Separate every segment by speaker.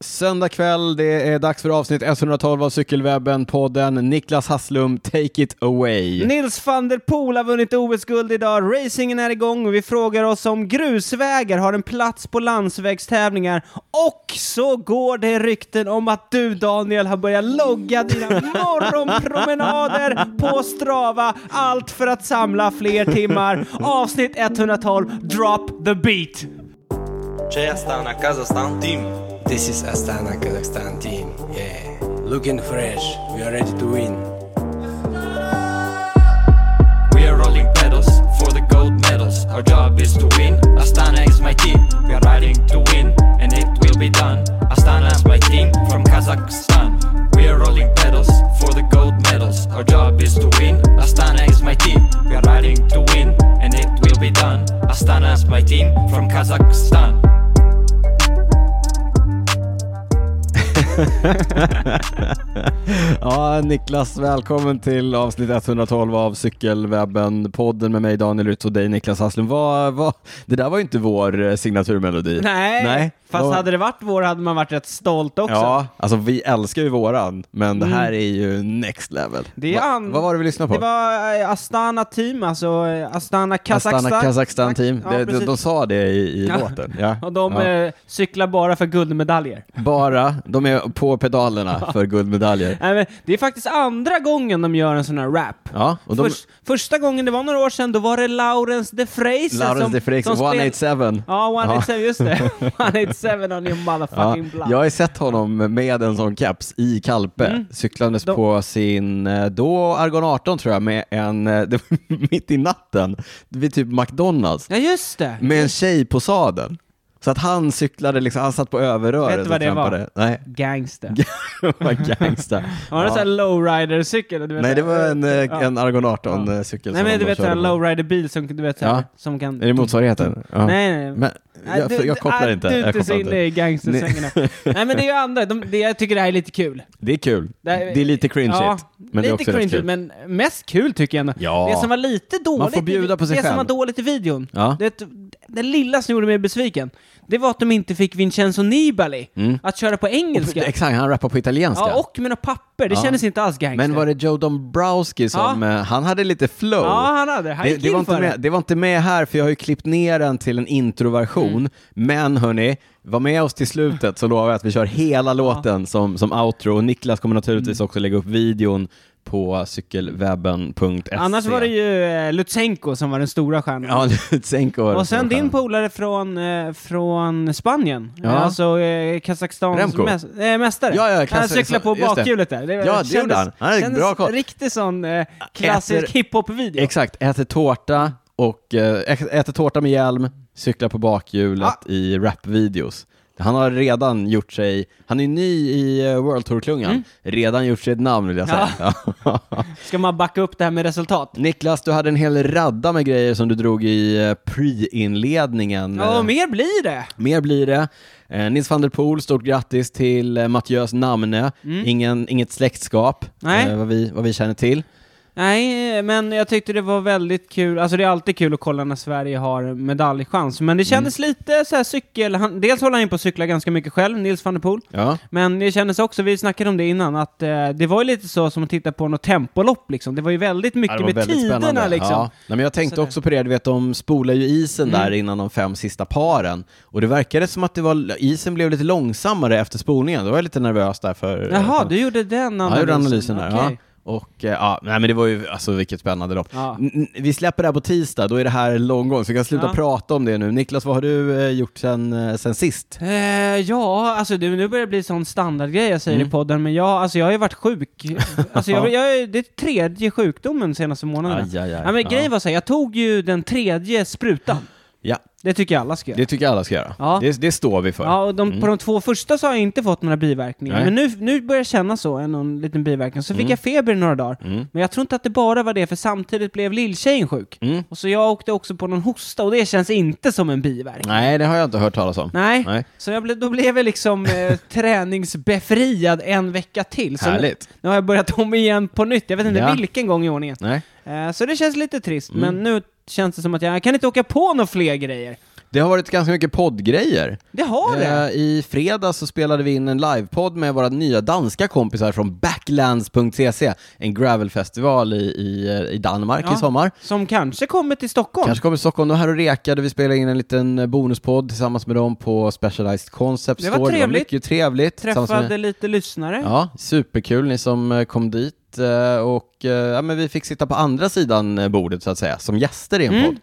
Speaker 1: söndag kväll. Det är dags för avsnitt 112 av Cykelwebben-podden. Niklas Hasslum, take it away.
Speaker 2: Nils van der Poel har vunnit OS-guld idag, racingen är igång och vi frågar oss om grusvägar har en plats på landsvägstävlingar. Och så går det rykten om att du Daniel har börjat logga dina morgonpromenader på Strava. Allt för att samla fler timmar. Avsnitt 112, drop the beat!
Speaker 3: Че Астана, Казахстан, Тим.
Speaker 4: This is Astana Kazakhstan team. Yeah. Looking fresh. We are ready to win.
Speaker 3: We are rolling pedals for the gold medals. Our job is to win. Astana is my team. We are riding to win, and it will be done. Astana is my team from Kazakhstan. We are rolling pedals for the gold medals. Our job is to win. Astana is my team. We are riding to win, and it will be done. Astana is my team from Kazakhstan.
Speaker 1: Ja, Niklas, välkommen till avsnitt 112 av Cykelwebben-podden med mig Daniel Rytz och dig Niklas Hasslum. Vad, vad, det där var ju inte vår eh, signaturmelodi.
Speaker 2: Nej, fast
Speaker 1: Vad-
Speaker 2: hade det varit vår hade man varit rätt stolt också. Mm.
Speaker 1: Ja, alltså vi älskar ju våran, men det här är ju next level.
Speaker 2: Det är
Speaker 1: Va-
Speaker 2: an-
Speaker 1: Vad var det vi lyssnade på?
Speaker 2: Det var eh, Astana Team, alltså eh, Astana Kazakstan.
Speaker 1: Astana Kazakstan team.
Speaker 2: Ja,
Speaker 1: det, de,
Speaker 2: precis.
Speaker 1: de sa det i, i
Speaker 2: Ja.
Speaker 1: låten. Ja.
Speaker 2: Och de
Speaker 1: ja.
Speaker 2: eh, cyklar bara för guldmedaljer.
Speaker 1: Bara, de är på pedalerna för guldmedaljer.
Speaker 2: Nej, men det är faktiskt andra gången de gör en sån här rap.
Speaker 1: Ja, och de,
Speaker 2: Förs- första gången, det var några år sedan, då var det Laurens de Freise
Speaker 1: Laurens
Speaker 2: som,
Speaker 1: de Freix,
Speaker 2: som spel-
Speaker 1: 187.
Speaker 2: Ja, 187, just det. 187 on your
Speaker 1: Ja,
Speaker 2: motherfucking block.
Speaker 1: jag har ju sett honom med en sån caps i Kalpe, cyklandes
Speaker 2: Mm. De-
Speaker 1: på sin, eh, då Argon 18 tror jag, med en, eh, det var mitt i natten, vid typ McDonalds,
Speaker 2: Ja, just det.
Speaker 1: med en tjej på sadeln. Så att han cyklade, liksom, han satt på överröret
Speaker 2: Vet du vad
Speaker 1: och
Speaker 2: det var?
Speaker 1: trampade. Nej,
Speaker 2: Gangster.
Speaker 1: vad gangsta.
Speaker 2: Var det en sån här lowrider-cykel? Du vet
Speaker 1: Nej, det var en, eh,
Speaker 2: Ja.
Speaker 1: en Argon eh, 18-cykel
Speaker 2: Nej men du
Speaker 1: körde
Speaker 2: vet såhär
Speaker 1: på.
Speaker 2: lowrider-bil som, du vet, så här,
Speaker 1: Ja.
Speaker 2: som kan...
Speaker 1: Är det motsvarigheten? Ja.
Speaker 2: Nej, nej, nej.
Speaker 1: Men,
Speaker 2: Nej,
Speaker 1: jag,
Speaker 2: du-
Speaker 1: jag kopplar
Speaker 2: nej,
Speaker 1: inte.
Speaker 2: Du är
Speaker 1: jag
Speaker 2: inte så
Speaker 1: kopplar
Speaker 2: inne i gangstersvängarna. Nej men det är ju andra, de, det, jag tycker det här är lite kul.
Speaker 1: Det är kul.
Speaker 2: Det,
Speaker 1: Det
Speaker 2: här-
Speaker 1: är, lite cringe
Speaker 2: Ja,
Speaker 1: men det är
Speaker 2: lite
Speaker 1: också rätt
Speaker 2: cringeigt,
Speaker 1: kul.
Speaker 2: men mest kul tycker jag ändå.
Speaker 1: Ja.
Speaker 2: Det som var lite dåligt,
Speaker 1: Man får bjuda på sig
Speaker 2: det som
Speaker 1: själv.
Speaker 2: var dåligt i videon,
Speaker 1: Ja.
Speaker 2: det, det lilla som gjorde mig besviken, det var att de inte fick Vincenzo Nibali
Speaker 1: Mm.
Speaker 2: att köra på engelska.
Speaker 1: Exakt, han rappar på italienska.
Speaker 2: Ja, och med något papper, det
Speaker 1: Ja.
Speaker 2: kändes inte alls gangster.
Speaker 1: men var det Joe Dombrowski som, eh, han hade lite flow.
Speaker 2: Ja, han hade. Han
Speaker 1: det,
Speaker 2: gick
Speaker 1: det, var
Speaker 2: in
Speaker 1: inte
Speaker 2: för
Speaker 1: med,
Speaker 2: det.
Speaker 1: det var inte med här, för jag har ju klippt ner den till en introversion.
Speaker 2: Mm.
Speaker 1: Men hörni, var med oss till slutet så lovar jag att vi kör hela låten som, som outro. Och Niklas kommer naturligtvis
Speaker 2: Mm.
Speaker 1: också lägga upp videon på cykelwebben.se.
Speaker 2: Annars var det ju eh, Lutsenko som var den stora stjärnan.
Speaker 1: Ja, Lutsenko var det
Speaker 2: Och
Speaker 1: som
Speaker 2: sen
Speaker 1: var
Speaker 2: din
Speaker 1: stjärnan.
Speaker 2: polare från, eh, från Spanien,
Speaker 1: Ja.
Speaker 2: alltså eh, Kazakstans
Speaker 1: Remco.
Speaker 2: mäs- eh, mästare.
Speaker 1: Ja, ja,
Speaker 2: han
Speaker 1: Kazak-
Speaker 2: cyklade på
Speaker 1: just det.
Speaker 2: bakhjulet där.
Speaker 1: Ja, det gjorde han. Han hade
Speaker 2: kändes
Speaker 1: bra koll.
Speaker 2: riktig sån eh, klassisk
Speaker 1: Äter-
Speaker 2: hiphop-video.
Speaker 1: Exakt, äter tårta och eh, ä- äter tårta med hjälm, cyklar på bakhjulet
Speaker 2: Ah!
Speaker 1: i rapvideos. Han har redan gjort sig, han är ny i eh, World Tour-klungan,
Speaker 2: Mm.
Speaker 1: redan gjort sig ett namn vill jag säga. Ja.
Speaker 2: Ska man backa upp det här med resultat?
Speaker 1: Niklas, du hade en hel radda med grejer som du drog i eh, pre-inledningen.
Speaker 2: Ja,
Speaker 1: Eh,
Speaker 2: och mer blir det.
Speaker 1: Mer blir det. Eh, Nils van der Poel, stort grattis till eh, Mattias namne. Ingen, inget släktskap,
Speaker 2: Mm. Nej.
Speaker 1: eh, vad, vi, vad vi känner till.
Speaker 2: Nej, eh, men jag tyckte det var väldigt kul. Alltså det är alltid kul att kolla när Sverige har medaljchans, men det kändes
Speaker 1: Mm.
Speaker 2: lite så här cykel... Han, dels håller han in på att cykla ganska mycket själv, Nils van der Poel.
Speaker 1: Ja.
Speaker 2: Men det kändes också, vi snackade om det innan, att eh, det var ju lite så som att titta på något tempolopp liksom. Det var ju väldigt mycket
Speaker 1: Ja, det var
Speaker 2: med
Speaker 1: väldigt
Speaker 2: tiderna
Speaker 1: spännande.
Speaker 2: liksom.
Speaker 1: Ja. Nej, men jag tänkte också på det, du vet de spolar ju isen där
Speaker 2: Mm.
Speaker 1: innan de fem sista paren och det verkade som att det var, isen blev lite långsammare efter spolningen, då var jag lite nervös där för...
Speaker 2: Jaha,
Speaker 1: för,
Speaker 2: du gjorde den analysen?
Speaker 1: Ja, jag gjorde analysen där.
Speaker 2: Okej.
Speaker 1: Ja. Och eh, ja, nej men det var ju, alltså vilket spännande lopp.
Speaker 2: Ja.
Speaker 1: N- n- Vi släpper det här på tisdag, då är det här långgång, så vi kan sluta
Speaker 2: Ja.
Speaker 1: prata om det nu. Niklas, vad har du eh, gjort sen, eh, sen sist?
Speaker 2: Eh, ja, alltså du, nu börjar det bli sån standardgrej jag
Speaker 1: Mm.
Speaker 2: säger i podden, men jag, alltså, jag har ju varit sjuk. Alltså, jag, jag, det är tredje sjukdomen senaste månaderna.
Speaker 1: Aj, aj, aj.
Speaker 2: Ja, men
Speaker 1: Ja.
Speaker 2: grejen var så här, jag tog ju den tredje sprutan.
Speaker 1: Ja,
Speaker 2: Det tycker jag alla ska göra.
Speaker 1: det tycker jag alla ska göra.
Speaker 2: Ja.
Speaker 1: Det, det står vi för. Mm.
Speaker 2: Ja, och de, på de två första så har jag inte fått några biverkningar.
Speaker 1: Nej. Mm.
Speaker 2: Men nu, nu börjar jag känna så, en någon liten biverkning. Så fick jag feber i några dagar. Men jag tror inte att det bara var det, för samtidigt blev lilltjejen sjuk.
Speaker 1: Mm.
Speaker 2: Och så jag åkte också på någon hosta, och det känns inte som en biverkning.
Speaker 1: Nej, det har jag inte hört talas om.
Speaker 2: Nej.
Speaker 1: Nej.
Speaker 2: Så jag blev, då blev jag liksom eh, träningsbefriad en vecka till. Så
Speaker 1: Härligt.
Speaker 2: Nu, nu har jag börjat om igen på nytt. Jag vet inte
Speaker 1: Ja. Mm.
Speaker 2: vilken gång i ordningen.
Speaker 1: Nej.
Speaker 2: Eh, så det känns lite trist, men nu känns det som att jag, jag kan inte åka på några fler grejer.
Speaker 1: Det har varit ganska mycket poddgrejer.
Speaker 2: Det har det!
Speaker 1: Eh, I fredags så spelade vi in en livepodd med våra nya danska kompisar från backlands.cc, en gravelfestival i, i, eh, i Danmark
Speaker 2: Ja.
Speaker 1: i sommar.
Speaker 2: Som kanske kommer till Stockholm.
Speaker 1: Kanske kommer Stockholm, de här och rekade, vi spelade in en liten eh, bonuspodd tillsammans med dem på Specialized Concept
Speaker 2: Det var
Speaker 1: Store.
Speaker 2: trevligt.
Speaker 1: mycket trevligt. Tillsammans
Speaker 2: Träffade
Speaker 1: Med,
Speaker 2: lite lyssnare.
Speaker 1: ja, superkul ni som eh, kom dit eh, och eh, ja, men vi fick sitta på andra sidan eh, bordet så att säga, som gäster i en
Speaker 2: Mm.
Speaker 1: podd.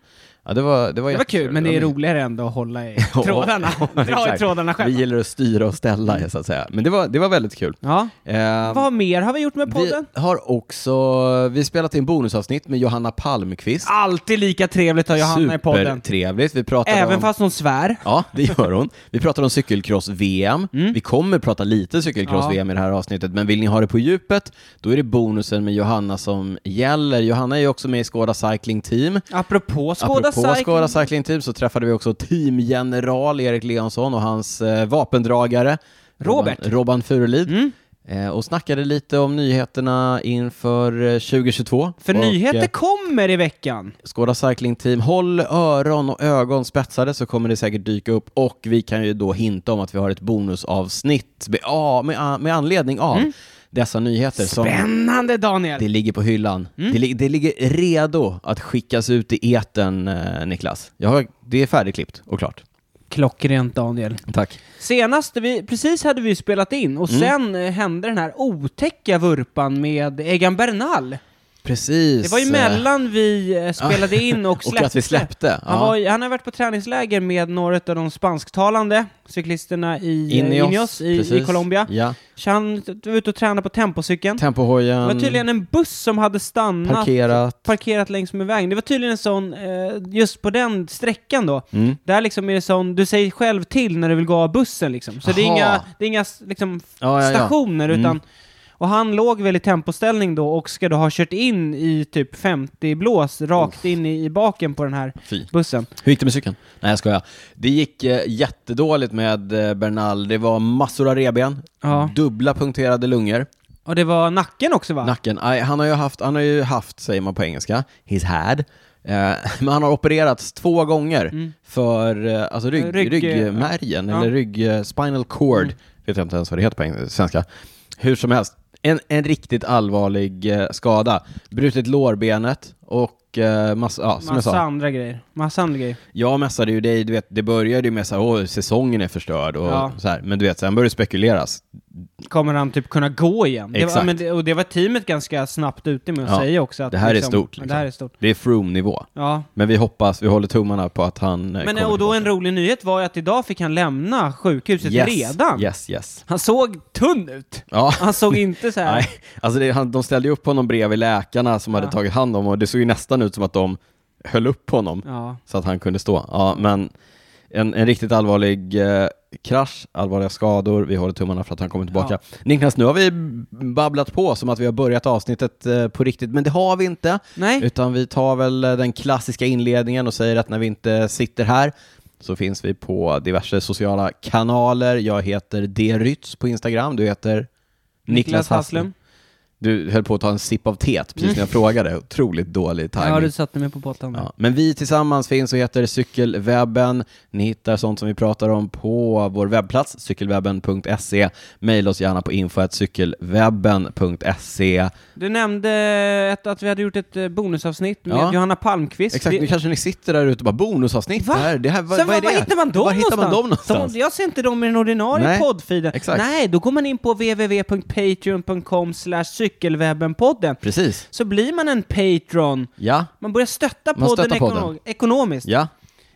Speaker 1: Ja, det var, det var,
Speaker 2: det var
Speaker 1: jättekul.
Speaker 2: kul, men det är
Speaker 1: var-
Speaker 2: roligare ändå att hålla i
Speaker 1: Ja,
Speaker 2: trådarna.
Speaker 1: ja,
Speaker 2: Dra i
Speaker 1: exakt.
Speaker 2: trådarna
Speaker 1: Vi
Speaker 2: själv.
Speaker 1: gillar att styra och ställa så att säga. Men det var, det var väldigt kul.
Speaker 2: Ja.
Speaker 1: Eh,
Speaker 2: Vad mer har vi gjort med
Speaker 1: vi
Speaker 2: podden?
Speaker 1: har också vi spelat in bonusavsnitt med Johanna Palmqvist.
Speaker 2: Alltid lika trevligt att ha Johanna i podden.
Speaker 1: Supertrevligt. Vi pratade
Speaker 2: Även
Speaker 1: om...
Speaker 2: fast hon svär.
Speaker 1: Ja, det gör hon. Vi pratar om cykelcross-VM.
Speaker 2: Mm.
Speaker 1: Vi kommer prata lite cykelcross-VM i det här avsnittet, men vill ni ha det på djupet, då är det bonusen med Johanna som gäller. Johanna är ju också med i Skåda Cycling Team.
Speaker 2: Apropå Skåda
Speaker 1: Apropå
Speaker 2: Cycling.
Speaker 1: Skåda Cycling Team så träffade vi också teamgeneral Erik Leonsson och hans eh, vapendragare
Speaker 2: Robert.
Speaker 1: Robban,
Speaker 2: Mm.
Speaker 1: Robban Furulid. Eh, och snackade lite om nyheterna inför eh, 2022.
Speaker 2: För
Speaker 1: och,
Speaker 2: nyheter
Speaker 1: eh,
Speaker 2: kommer i veckan.
Speaker 1: Skåda Cycling Team, håll öron och ögon spetsade så kommer det säkert dyka upp och vi kan ju då hinta om att vi har ett bonusavsnitt med, ah, med, a- med anledning av
Speaker 2: Mm.
Speaker 1: dessa nyheter som
Speaker 2: Spännande Daniel!
Speaker 1: det ligger på hyllan. Det, li- det ligger redo att skickas ut i etern, eh, Niklas. Jag har, det är färdigklippt och klart.
Speaker 2: Klockrent Daniel.
Speaker 1: Tack.
Speaker 2: Senast, vi, precis hade vi spelat in och
Speaker 1: Mm.
Speaker 2: sen eh, hände den här otäcka vurpan med Egan Bernal.
Speaker 1: Precis.
Speaker 2: Det var ju
Speaker 1: eh,
Speaker 2: mellan vi eh, spelade in och
Speaker 1: Och
Speaker 2: släppte.
Speaker 1: att vi släppte.
Speaker 2: Han,
Speaker 1: ja.
Speaker 2: var, ju- han har varit på träningsläger med några av de spansktalande cyklisterna i eh,
Speaker 1: Ineos,
Speaker 2: Ineos i, i
Speaker 1: precis.
Speaker 2: Colombia.
Speaker 1: Ja.
Speaker 2: Så han t- var ute och tränade på tempocykeln.
Speaker 1: Tempohojen,
Speaker 2: Det var tydligen en buss som hade stannat,
Speaker 1: parkerat.
Speaker 2: parkerat längs med vägen. Det var tydligen en sån, eh, just på den sträckan då,
Speaker 1: Mm.
Speaker 2: där liksom är det sån, du säger själv till när du vill gå av bussen liksom. Så det är
Speaker 1: Aha.
Speaker 2: inga, det är inga s- liksom, f-
Speaker 1: Ja, ja, ja.
Speaker 2: stationer
Speaker 1: Mm.
Speaker 2: utan och han låg väl i tempoställning då och ska då ha kört in i typ 50 blås rakt in i, i baken på den här
Speaker 1: Fy.
Speaker 2: bussen.
Speaker 1: Hur gick det med cykeln? Nej, jag skojar. Det gick eh, jättedåligt med eh, Bernal. Det var massor av revben,
Speaker 2: Ja.
Speaker 1: dubbla punkterade lungor,
Speaker 2: Och det var nacken också va?
Speaker 1: nacken. Aj, han, har ju haft, han har ju haft, säger man på engelska, he's had. Eh, men han har opererats två gånger för eh, alltså rygg,
Speaker 2: Mm. Rygg, eh,
Speaker 1: ryggmärgen,
Speaker 2: ja. Mm.
Speaker 1: eller rygg, eh, spinal cord. Vet jag inte ens vad det heter på eng- svenska. Hur som helst, en, en riktigt allvarlig eh, skada. Brutit lårbenet och eh, massa, ja, som jag
Speaker 2: Massa
Speaker 1: sa,
Speaker 2: andra grejer. Massa andra grejer.
Speaker 1: jag mässade ju dig, du vet, det började ju med så här, åh, säsongen är förstörd och
Speaker 2: Ja.
Speaker 1: så här. Men du vet, sen började det spekuleras.
Speaker 2: Kommer han typ kunna gå igen? Det var,
Speaker 1: Exakt.
Speaker 2: men det, och det var teamet ganska snabbt ute med att
Speaker 1: Ja.
Speaker 2: säga också. Att
Speaker 1: det här
Speaker 2: liksom,
Speaker 1: är stort.
Speaker 2: Det här är stort.
Speaker 1: Det är Froome-nivå.
Speaker 2: Ja,
Speaker 1: Men vi hoppas, vi håller tummarna på att han eh,
Speaker 2: Men
Speaker 1: kommer
Speaker 2: och då en
Speaker 1: tillbaka.
Speaker 2: rolig nyhet var ju att idag fick han lämna sjukhuset
Speaker 1: yes,
Speaker 2: redan. Alltså.
Speaker 1: Yes, yes.
Speaker 2: Han såg tunn ut.
Speaker 1: Ja.
Speaker 2: Han såg inte så
Speaker 1: Nej,
Speaker 2: här.
Speaker 1: alltså det, han, de ställde ju upp honom bredvid läkarna som
Speaker 2: Ja.
Speaker 1: hade tagit hand om och det såg ju nästan ut som att de höll upp honom
Speaker 2: ja.
Speaker 1: så att han kunde stå. Ja, men en, en riktigt allvarlig eh, krasch, allvarliga skador. Vi håller tummarna för att han kommer tillbaka. Niklas, nu har vi babblat på som att vi har börjat avsnittet eh, på riktigt, men det har vi inte.
Speaker 2: Nej,
Speaker 1: Utan vi tar väl eh, den klassiska inledningen och säger att när vi inte sitter här så finns vi på diverse sociala kanaler. Jag heter Drytz på Instagram, du heter Niklas, Hasslum. Du höll på att ta en sipp av teet precis när jag frågade. Otroligt dålig timing.
Speaker 2: Ja, du satte mig på botten där.
Speaker 1: Ja, men vi tillsammans finns och heter Cykelwebben. Ni hittar sånt som vi pratar om på vår webbplats, cykelwebben.se. Maila oss gärna på info.cykelwebben.se.
Speaker 2: Du nämnde ett, att vi hade gjort ett eh, bonusavsnitt med
Speaker 1: Ja.
Speaker 2: Johanna Palmqvist.
Speaker 1: Exakt, nu
Speaker 2: det,
Speaker 1: kanske ni sitter där ute och bara bonusavsnitt.
Speaker 2: Va?
Speaker 1: Det här, det här, vad,
Speaker 2: Sen,
Speaker 1: vad är
Speaker 2: var,
Speaker 1: det?
Speaker 2: var hittar man dem
Speaker 1: var hittar
Speaker 2: någonstans?
Speaker 1: man dem någonstans?
Speaker 2: De, jag ser inte dem i den ordinarie
Speaker 1: Nej,
Speaker 2: poddfeeden.
Speaker 1: exakt.
Speaker 2: Nej, då går man in på www.patreon.com cykelwebbenpodden.
Speaker 1: Precis.
Speaker 2: Så blir man en patron.
Speaker 1: Ja.
Speaker 2: Man börjar stötta
Speaker 1: Man
Speaker 2: podden,
Speaker 1: stöttar podden.
Speaker 2: ekono- ekonomiskt.
Speaker 1: Ja,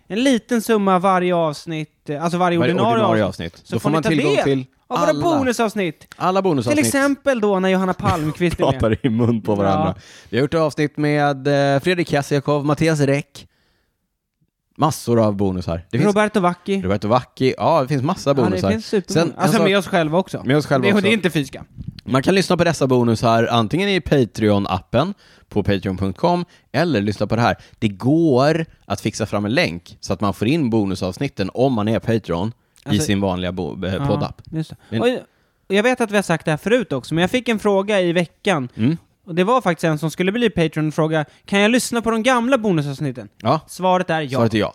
Speaker 2: En liten summa varje avsnitt, eh, alltså varje,
Speaker 1: Varje
Speaker 2: ordinarie,
Speaker 1: ordinarie
Speaker 2: avsnitt.
Speaker 1: avsnitt. Då får man tillgång till
Speaker 2: av våra
Speaker 1: alla
Speaker 2: bonusavsnitt.
Speaker 1: alla bonusavsnitt
Speaker 2: Till exempel då när Johanna Palmqvist är med.
Speaker 1: pratar i mun på varandra.
Speaker 2: Ja.
Speaker 1: Vi har gjort avsnitt med eh, Fredrik Kasiakov, Mattias Räck. Massor av bonusar. Det finns
Speaker 2: Roberto Vacchi.
Speaker 1: Roberto Vacki, ja det finns massa
Speaker 2: Ja,
Speaker 1: bonusar.
Speaker 2: det finns superbonus.
Speaker 1: en
Speaker 2: alltså
Speaker 1: sak-
Speaker 2: med oss själva också.
Speaker 1: Med oss själva
Speaker 2: det,
Speaker 1: också.
Speaker 2: det är inte fysiska.
Speaker 1: Man kan lyssna på dessa bonusar antingen i Patreon-appen på patreon.com eller lyssna på det här. Det går att fixa fram en länk så att man får in bonusavsnitten om man är Patreon
Speaker 2: Alltså-
Speaker 1: i sin vanliga bo- eh, poddapp.
Speaker 2: Ja, just det.
Speaker 1: Men-
Speaker 2: Och jag- och jag vet att vi har sagt det här förut också, men jag fick en fråga i veckan.
Speaker 1: Mm.
Speaker 2: Och det var faktiskt en som skulle bli Patreon och fråga Kan jag lyssna på de gamla bonusavsnitten?
Speaker 1: Ja,
Speaker 2: Svaret är ja.
Speaker 1: svaret är ja.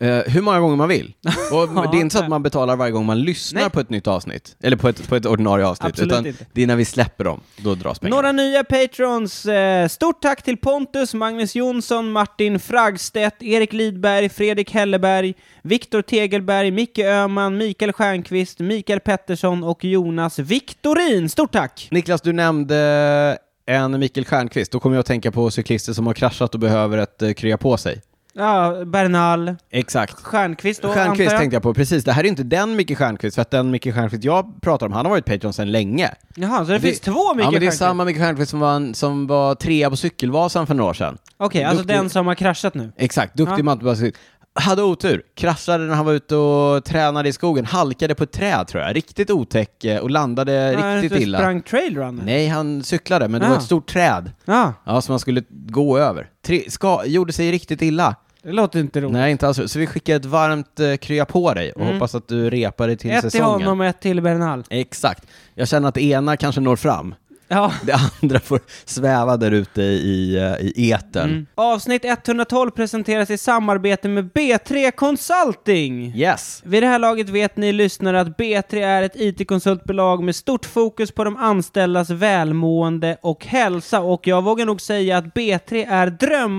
Speaker 1: Eh, hur många gånger man vill. Och det är inte så att
Speaker 2: nej.
Speaker 1: man betalar varje gång man lyssnar
Speaker 2: Nej.
Speaker 1: på ett nytt avsnitt, eller på ett, på ett ordinarie avsnitt,
Speaker 2: Absolut
Speaker 1: utan
Speaker 2: inte.
Speaker 1: det är när vi släpper dem, då dras pengarna.
Speaker 2: Några nya patrons. Eh, Stort tack till Pontus, Magnus Jonsson, Martin Fragstedt, Erik Lidberg, Fredrik Helleberg, Viktor Tegelberg, Micke Öhman, Mikael Stjernqvist, Mikael Pettersson och Jonas Viktorin. Stort tack!
Speaker 1: Niklas, du nämnde eh, en Mikael Stjernqvist, då kommer jag att tänka på cyklister som har kraschat och behöver ett eh, krya på sig.
Speaker 2: Ja, Bernal,
Speaker 1: Exakt.
Speaker 2: Stjernqvist då,
Speaker 1: Stjernqvist
Speaker 2: antar jag.
Speaker 1: tänkte jag på, precis. Det här är inte den Micke Stjernqvist, för att den Micke Stjernqvist jag pratar om, han har varit Patreon sedan länge.
Speaker 2: Jaha, så det, finns två Mikael
Speaker 1: Ja, men det är
Speaker 2: Stjernqvist?
Speaker 1: samma Micke Stjernqvist som var, en, som var trea på Cykelvasan för några år sedan.
Speaker 2: Okej, alltså
Speaker 1: Duktig.
Speaker 2: den som har kraschat nu.
Speaker 1: Exakt, duktig
Speaker 2: Ja.
Speaker 1: matte. Hade otur, kraschade när han var ute och tränade i skogen, halkade på ett träd tror jag, riktigt otäck eh, och landade
Speaker 2: Nej,
Speaker 1: riktigt
Speaker 2: du
Speaker 1: illa.
Speaker 2: Sprang trailrun?
Speaker 1: Nej, han cyklade, men det
Speaker 2: Ah.
Speaker 1: var ett stort träd
Speaker 2: Ja,
Speaker 1: ja, som han skulle gå över. Tre, ska, gjorde sig riktigt illa.
Speaker 2: det låter inte roligt.
Speaker 1: Nej, inte alls. Så vi skickar ett varmt eh, krya på dig och hoppas att du repar dig till
Speaker 2: Mm. ett till
Speaker 1: säsongen.
Speaker 2: honom och ett till Bernal.
Speaker 1: Exakt. Jag känner att det ena kanske når fram,
Speaker 2: Ja.
Speaker 1: det andra får sväva där ute i, eh, i etern.
Speaker 2: Mm. Avsnitt 112 presenteras i samarbete med B3 Consulting.
Speaker 1: Yes!
Speaker 2: Vid det här laget vet ni lyssnare att B3 är ett IT-konsultbolag med stort fokus på de anställdas välmående och hälsa och jag vågar nog säga att B3 är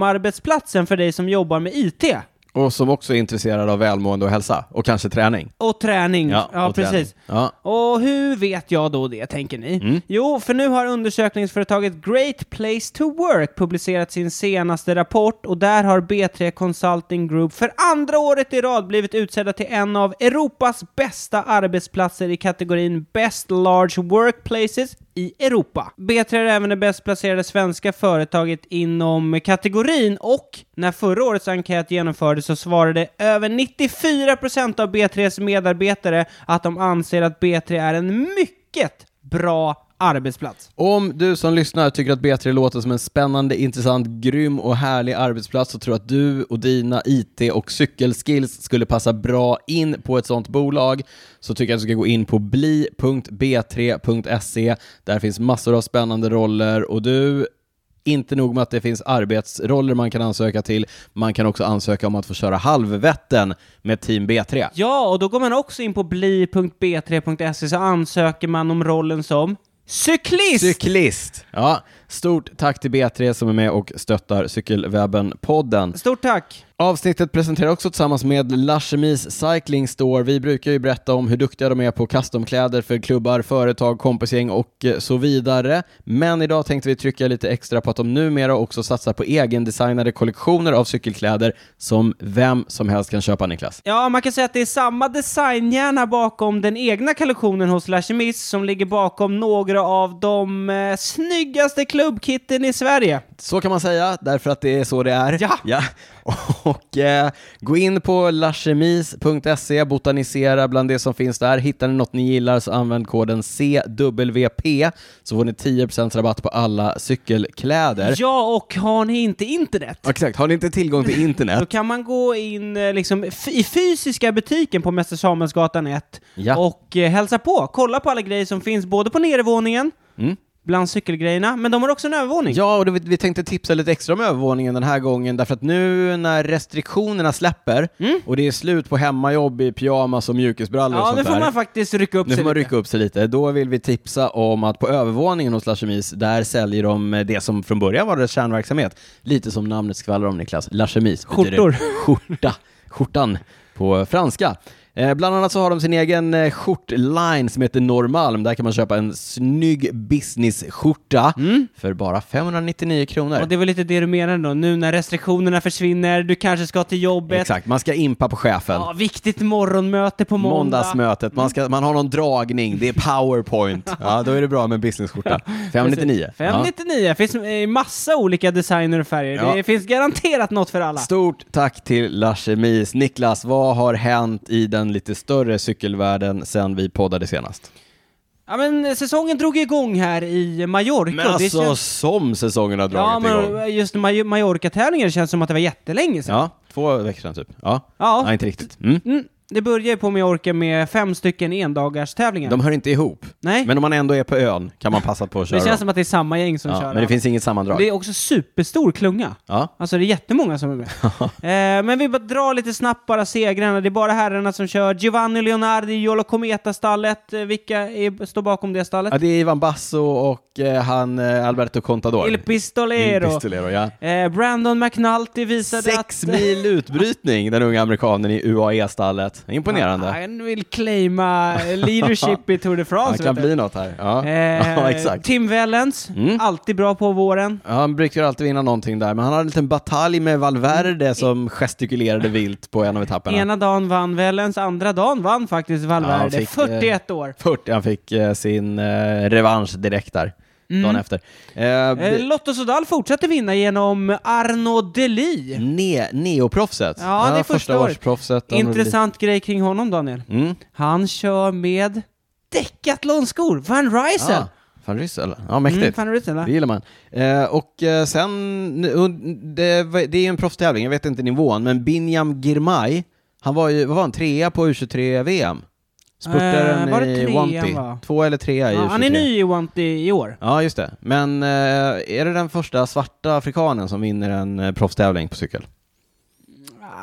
Speaker 2: drömarbetsplatsen för dig som jobbar med IT.
Speaker 1: Och som också är intresserad av välmående och hälsa, och kanske träning.
Speaker 2: Och träning. Ja,
Speaker 1: och
Speaker 2: precis.
Speaker 1: träning. Ja. Mm.
Speaker 2: Och hur vet jag då det, tänker ni? Jo, för nu har undersökningsföretaget Great Place to Work publicerat sin senaste rapport och där har B3 Consulting Group för andra året i rad blivit utsedda till en av Europas bästa arbetsplatser i kategorin Best Large Workplaces i Europa. B3 är även det bäst placerade svenska företaget inom kategorin och när förra årets enkät genomfördes så svarade över 94% av B3s medarbetare att de anser att B3 är en mycket bra arbetsplats.
Speaker 1: Om du som lyssnar tycker att B3 låter som en spännande, intressant, grym och härlig arbetsplats och tror att du och dina IT och cykelskills skulle passa bra in på ett sånt bolag så tycker jag att du ska gå in på bli.b3.se. E. Där finns massor av spännande roller och du inte nog med att det finns arbetsroller man kan ansöka till, man kan också ansöka om att få köra halvvätten med Team B3.
Speaker 2: Ja, och då går man också in på bli.b3.se så ansöker man om rollen som cyklist!
Speaker 1: Cyklist! Ja, stort tack till B3 som är med och stöttar Cykelwebben-podden.
Speaker 2: Stort tack!
Speaker 1: Avsnittet presenterar också tillsammans med Lachemis Cycling Store. Vi brukar ju berätta om hur duktiga de är på customkläder för klubbar, företag, kompisgäng och eh, så vidare. Men idag tänkte vi trycka lite extra på att de numera också satsar på egendesignade kollektioner av cykelkläder som vem som helst kan köpa, Niklas.
Speaker 2: Ja, man kan säga att det är samma designhjärna bakom den egna kollektionen hos Lashemist som ligger bakom några av de eh, snyggaste klubbkitten i Sverige.
Speaker 1: Så kan man säga, därför att det är så det är.
Speaker 2: Ja.
Speaker 1: Och eh, gå in på lachemis.se, botanisera bland det som finns där. Hittar ni något ni gillar så använd koden CWP så får ni 10% rabatt på alla cykelkläder.
Speaker 2: Ja, och har ni inte internet?
Speaker 1: Exakt, har ni inte tillgång till
Speaker 2: Då
Speaker 1: internet?
Speaker 2: kan man gå in eh, liksom, f- i fysiska butiken på Mäster Samuelsgatan 1
Speaker 1: Ja.
Speaker 2: och eh, hälsa på. Kolla på alla grejer som finns både på nedervåningen, bland cykelgrejerna, men de har också en övervåning.
Speaker 1: Mm. Ja, och då, vi- vi tänkte tipsa lite extra om övervåningen den här gången, därför att nu när restriktionerna släpper och det är slut på hemmajobb i pyjamas och mjukisbrallor och
Speaker 2: Mm. Ja,
Speaker 1: sånt
Speaker 2: nu får
Speaker 1: där.
Speaker 2: man faktiskt rycka upp
Speaker 1: Nu
Speaker 2: sig
Speaker 1: får man
Speaker 2: lite.
Speaker 1: rycka upp sig lite. Då vill vi tipsa om att på övervåningen hos Lachemis, där säljer de eh, det som från början var deras kärnverksamhet. Lite som namnet skvallrar om Niklas, Lachemis. betyder
Speaker 2: Skjortor.
Speaker 1: Skjorta. Skjortan på franska. Eh, bland annat så har de sin egen eh, skjortline som heter Norrmalm. Där kan man köpa en snygg businessskjorta för bara 599 kronor.
Speaker 2: Och Mm. det var lite det du menade då, nu när restriktionerna försvinner, du kanske ska till jobbet.
Speaker 1: Exakt, man ska impa på chefen.
Speaker 2: Ja, viktigt morgonmöte på måndag.
Speaker 1: Måndagsmötet, man, ska, man har någon dragning, det är powerpoint. Ja, då är det bra med en businessskjorta. 599. Ja.
Speaker 2: 599, det finns eh, massa olika designer och färger.
Speaker 1: Ja.
Speaker 2: Det finns garanterat något för alla.
Speaker 1: Stort tack till Lachemis. Niklas, vad har hänt i den lite större cykelvärlden sedan vi poddade senast?
Speaker 2: Ja men eh, säsongen drog igång här i Mallorca.
Speaker 1: Men
Speaker 2: och det
Speaker 1: alltså,
Speaker 2: känns-
Speaker 1: som säsongen har
Speaker 2: Ja,
Speaker 1: dragit igång.
Speaker 2: men just Maj- Mallorca-tävlingen känns som att det var jättelänge sedan.
Speaker 1: Ja, två veckor sedan typ. Ja,
Speaker 2: Ja.
Speaker 1: Nej, inte riktigt. Mm.
Speaker 2: Mm. det börjar ju på om jag orkar med fem stycken endagars tävlingar.
Speaker 1: De hör inte ihop.
Speaker 2: Nej,
Speaker 1: Men om man ändå är på ön kan man passa på att köra
Speaker 2: det
Speaker 1: dem.
Speaker 2: känns som att det är samma gäng som
Speaker 1: ja,
Speaker 2: kör.
Speaker 1: Men det finns inget sammandrag.
Speaker 2: det är också superstor klunga.
Speaker 1: Ja.
Speaker 2: Alltså det är jättemånga som är med. eh, men vi bara drar lite snabbt bara segrarna. Det är bara herrarna som kör. Giovanni Leonardi, Jolo Cometa-stallet. Eh, vilka är, står bakom det stallet?
Speaker 1: Ja, det är Ivan Basso och eh, han eh, Alberto Contador.
Speaker 2: Il Pistolero.
Speaker 1: Il Pistolero, ja.
Speaker 2: Eh, Brandon McNulty visade att...
Speaker 1: Sex mil utbrytning, den unga amerikanen i UAE-stallet. Imponerande.
Speaker 2: Han vill claima leadership i Tour de France.
Speaker 1: Han kan
Speaker 2: vet du.
Speaker 1: bli något här. Ja,
Speaker 2: Eh,
Speaker 1: ja exakt. Mm.
Speaker 2: Tim Wellens, alltid bra på våren.
Speaker 1: Ja, Han brukar alltid vinna någonting där, men han hade en liten batalj med Valverde som gestikulerade vilt på en av etapperna.
Speaker 2: Mm. Ena dagen vann Wellens, andra dagen vann faktiskt
Speaker 1: Ja, han
Speaker 2: Valverde.
Speaker 1: fick, eh,
Speaker 2: 41 år.
Speaker 1: 40, han fick eh, sin eh, revansch direkt där, dagen efter. Eh,
Speaker 2: Mm. Eh, Lotto Sodal fortsatte vinna genom Arno Deli.
Speaker 1: ne- neoproffset.
Speaker 2: Ja, det är första året.
Speaker 1: årsproffset. Han-
Speaker 2: Intressant grej kring honom, Daniel.
Speaker 1: Mm.
Speaker 2: Han kör med Decathlon-skor. Van Rysel.
Speaker 1: Ah, van Ryssel. Ja, mäktigt.
Speaker 2: Mm, Van Rysel, ja.
Speaker 1: Det gillar man. Eh, och eh, sen, und- det, var- det är en proffstävling, jag vet inte nivån, men Binyam Girmay, han var ju, vad var han, trea på U23-VM? Spurtaren
Speaker 2: Eh, var det
Speaker 1: i
Speaker 2: trean,
Speaker 1: Wanty.
Speaker 2: va?
Speaker 1: Två eller trea i
Speaker 2: Ja,
Speaker 1: U23.
Speaker 2: han är ny i Wanty i år.
Speaker 1: Ja, just det. Men eh, är det den första svarta afrikanen som vinner en eh, proffstävling på cykel?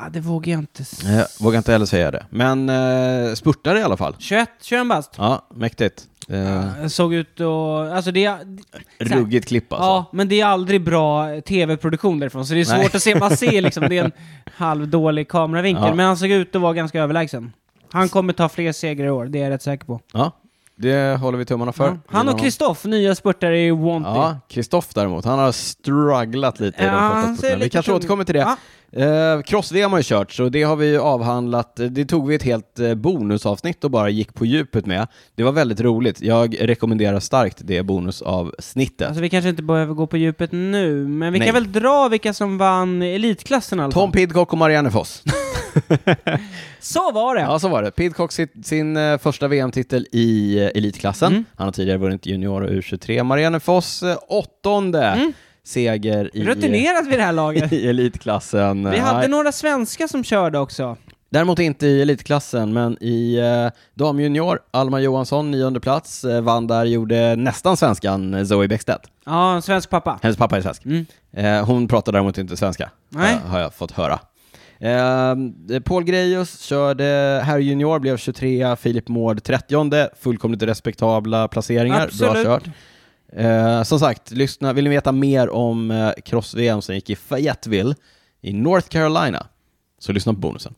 Speaker 2: Ah, det vågar jag inte s-
Speaker 1: Jag vågar inte heller säga det. Men eh, spurtare i alla fall.
Speaker 2: 21, 21 bast.
Speaker 1: Ja, mäktigt. Eh,
Speaker 2: Såg ut och... Alltså det... är- så här-
Speaker 1: ruggigt klipp alltså.
Speaker 2: Ja, men det är aldrig bra tv-produktion därifrån, så det är svårt
Speaker 1: Nej.
Speaker 2: att se. Man ser liksom, det är en halvdålig kameravinkel.
Speaker 1: Ja.
Speaker 2: Men han såg ut att vara ganska överlägsen. Han kommer ta fler segrar i år, det är jag rätt säker på.
Speaker 1: Ja, det håller vi tummarna för.
Speaker 2: Ja. Han och
Speaker 1: Kristoff.
Speaker 2: Kristoff, nya spurtare i Wanty.
Speaker 1: Ja, Kristoff däremot, han har strugglat lite i
Speaker 2: Ja,
Speaker 1: de
Speaker 2: han
Speaker 1: första
Speaker 2: ser
Speaker 1: sporterna. Vi
Speaker 2: lite
Speaker 1: kanske
Speaker 2: tung-
Speaker 1: återkommer till det. Eh, Cross-VM har ju kört, så det har vi ju avhandlat. Det tog vi ett helt eh, bonusavsnitt och bara gick på djupet med. Det var väldigt roligt. Jag rekommenderar starkt det bonusavsnittet.
Speaker 2: Alltså vi kanske inte behöver gå på djupet nu, men vi
Speaker 1: Nej.
Speaker 2: kan väl dra vilka som vann elitklassen i alla
Speaker 1: Tom
Speaker 2: fall.
Speaker 1: Pidcock och Marianne Foss.
Speaker 2: Så var det!
Speaker 1: Ja, så var det. Pidcock sitt, sin eh, första VM-titel i eh, elitklassen.
Speaker 2: Mm.
Speaker 1: Han har tidigare vunnit junior och U23. Marianne Foss, eh, åttonde
Speaker 2: Mm.
Speaker 1: seger i,
Speaker 2: Rutinerat vid det här laget.
Speaker 1: i elitklassen.
Speaker 2: Vi hade
Speaker 1: Nej.
Speaker 2: några svenskar som körde också.
Speaker 1: Däremot inte i elitklassen, men i eh, damjunior, Alma Johansson, nionde plats, eh, vann där, gjorde nästan svenskan eh, Zoe Bäckstedt.
Speaker 2: Ja, en svensk pappa.
Speaker 1: Hennes pappa är svensk.
Speaker 2: Mm.
Speaker 1: Eh, hon pratar däremot inte svenska,
Speaker 2: Nej.
Speaker 1: eh, har jag fått höra. Eh, Paul Grejus körde här junior, blev 23 Filip Mård 30 fullkomligt respektabla placeringar, bra
Speaker 2: Absolut.
Speaker 1: kört. Eh, som sagt, lyssna, vill ni veta mer om eh, cross-VM som gick i Fayetteville i North Carolina, så lyssna på bonusen.